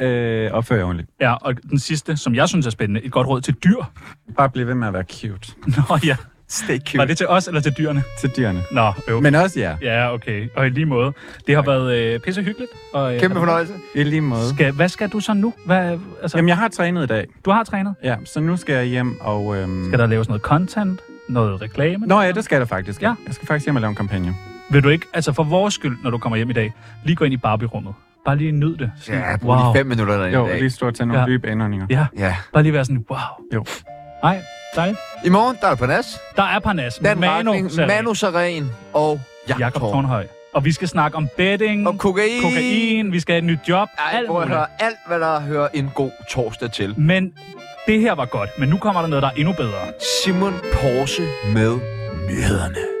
S4: Øh, opfør jer ordentligt.
S2: Ja, og den sidste, som jeg synes er spændende, et godt råd til dyr.
S4: Bare blive ved med at være cute.
S2: Nå ja,
S1: Stay cute.
S2: var det til os eller til dyrene?
S4: Til dyrene.
S2: Nå, øv.
S4: Men også jer.
S2: Ja, okay. Og i lige måde. Det har været øh, pisse hyggeligt. Og, øh,
S1: Kæmpe fornøjelse.
S4: I lige måde.
S2: Skal, hvad skal du så nu? Hvad, altså,
S4: Jamen, jeg har trænet i dag.
S2: du har trænet.
S4: Ja, så nu skal jeg hjem og... Øhm...
S2: Skal der laves noget content? Noget reklame?
S4: Nå ja, det skal der faktisk.
S2: Ja.
S4: Jeg skal faktisk hjem og lave en kampagne.
S2: Vil du ikke, altså for vores skyld, når du kommer hjem i dag, lige gå ind i Barbie-rummet. Bare lige nyd det. Sådan,
S1: Ja, brug lige fem minutter derinde
S4: Jo,
S1: i dag.
S4: lige stå og tage nogle
S2: Ja.
S4: ja. dybe indåndinger.
S2: Ja,
S1: Ja.
S2: bare lige være sådan, wow.
S4: Jo.
S2: Nej, dejligt.
S1: I morgen, der er det på nas.
S2: Der er Parnas.
S1: Dan Manu,
S2: Seren,
S1: Manu Saren og
S2: Jakob
S1: Jakob Torn.
S2: Tornhøj. Og vi skal snakke om betting,
S1: Og kokain.
S2: kokain, vi skal have et nyt job,
S1: Ej,
S2: alt
S1: prøv at
S2: muligt.
S1: høre, alt hvad der hører en god torsdag til.
S2: Men det her var godt, men nu kommer der noget, der er endnu bedre.
S1: Simon Porse med nyhederne.